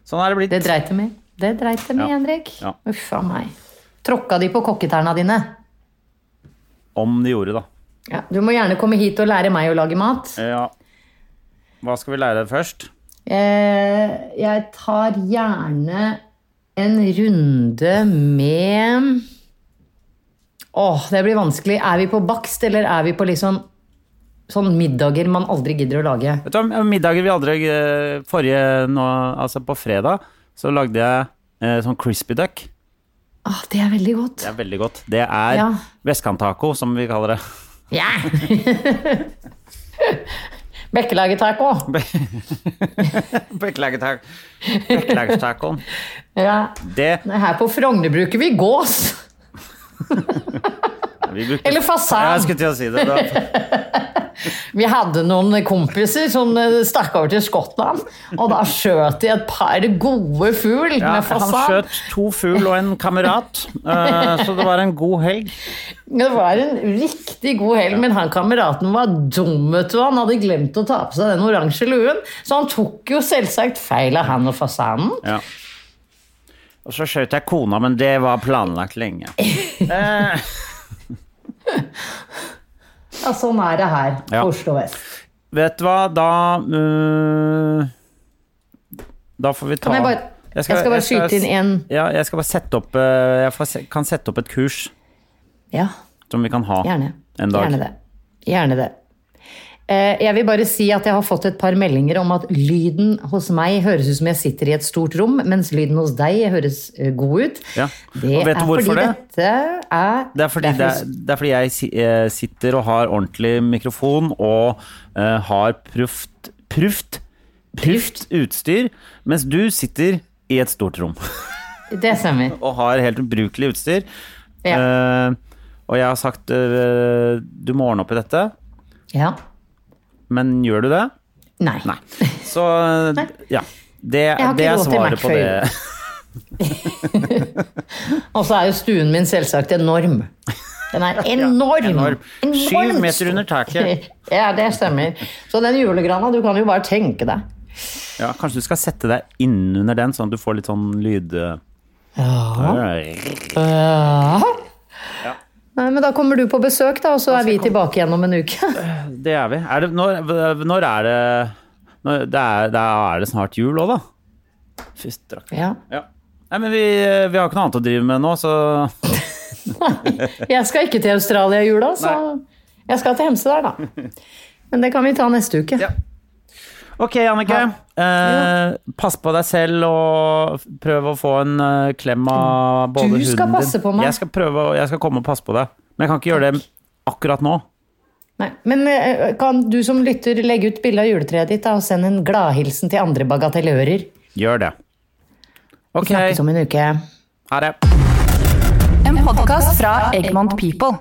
D: sånn er det blitt.
C: Det dreit dem i. Det dreit dem i,
D: Ja.
C: Henrik.
D: Ja.
C: Uff a meg. Tråkka de på kokketærne dine?
D: Om de gjorde, da.
C: Ja, du må gjerne komme hit og lære meg å lage mat.
D: Ja. Hva skal vi lære først?
C: Eh, jeg tar gjerne en runde med Åh, det blir vanskelig. Er vi på bakst, eller er vi på liksom sånn middager man aldri gidder å lage?
D: Vet du, hva, middager vi aldri eh, Forrige nå, altså på fredag, så lagde jeg eh, sånn crispy duck.
C: Åh, det er veldig godt.
D: Det er veldig godt. Det er
C: Ja.
D: vestkanttaco, som vi kaller det.
C: Ja! Bekkelagertaco.
D: Beklagertac- Beklagertacoen.
C: Ja.
D: Det
C: Nei, Her på Frogner bruker vi gås.
D: vi brukte.
C: Eller fasan.
D: Ja, jeg skulle til å si det. Da.
C: Vi hadde noen kompiser som eh, stakk over til Skottland, og da skjøt de et par gode fugl
D: Ja,
C: med
D: han
C: fasan.
D: skjøt to fugl og en kamerat, eh, så det var en god helg.
C: Det var en riktig god helg, men han kameraten var dum, vet du. Han hadde glemt å ta på seg den oransje luen, så han tok jo selvsagt feil av han og fasanen.
D: Ja. Og så skjøt jeg kona, men det var planlagt lenge. Eh,
C: Ja, sånn er det her
D: Ja.
C: på Oslo vest.
D: Vet du hva, da øh, Da får vi ta
C: Kan jeg bare- jeg skal bare skyte inn en-
D: Ja, jeg skal bare sette opp øh, Jeg får, se- kan sette opp et kurs
C: Ja,
D: som vi kan ha
C: gjerne.
D: en dag.
C: Gjerne det. Gjerne det. Eh, Jeg vil bare si at jeg har fått et par meldinger om at lyden hos meg høres ut som jeg sitter i et stort rom, mens lyden hos deg høres eh, god ut.
D: Ja.
C: Det
D: Og vet du
C: er
D: hvorfor
C: fordi
D: det?
C: dette er
D: Det er fordi, det er, det er fordi jeg si- eh, sitter og har ordentlig mikrofon og eh, har proft Proft? Proft utstyr, mens du sitter i et stort rom.
C: Det stemmer.
D: og har helt ubrukelig utstyr. Eh, og jeg har sagt eh, du må ordne opp i dette,
C: Ja.
D: men gjør du det?
C: Nei.
D: Nei. Så eh, ja. Det,
C: har ikke
D: det er
C: råd til
D: svaret
C: Mac
D: på det.
C: Og så er jo stuen min selvsagt enorm. Den er enorm!
D: Enorm. Syv meter under taket.
C: Ja, det stemmer. Så den julegrana, du kan jo bare tenke deg.
D: Ja, kanskje du skal sette deg innunder den, sånn at du får litt sånn lyd...
C: Nei, men da kommer du på besøk, da, og så er vi tilbake igjen om en uke.
D: Det er vi. Er det, når, når er det når, det, er, det er det snart jul òg, da. Fy strakk.
C: Ja.
D: Ja. Nei, men vi, vi har ikke noe annet å drive med nå, så
C: Jeg skal ikke til Australia i jula, så jeg skal til Hemsedal, da. Men det kan vi ta neste uke.
D: Ja. Ok, Annike. Eh, pass på deg selv og prøv å få en eh, klem av både hunden din.
C: skal passe på meg.
D: Jeg skal, prøve, å- jeg skal komme og passe på deg. Men jeg kan ikke gjøre det akkurat nå.
C: Nei. Men eh, kan du som lytter legge ut bilde av juletreet ditt da, og sende en gladhilsen til andre bagatellører?
D: Gjør det. Ok,
C: Snakkes om en uke.
D: ha det.
E: En podkast fra Egmont People.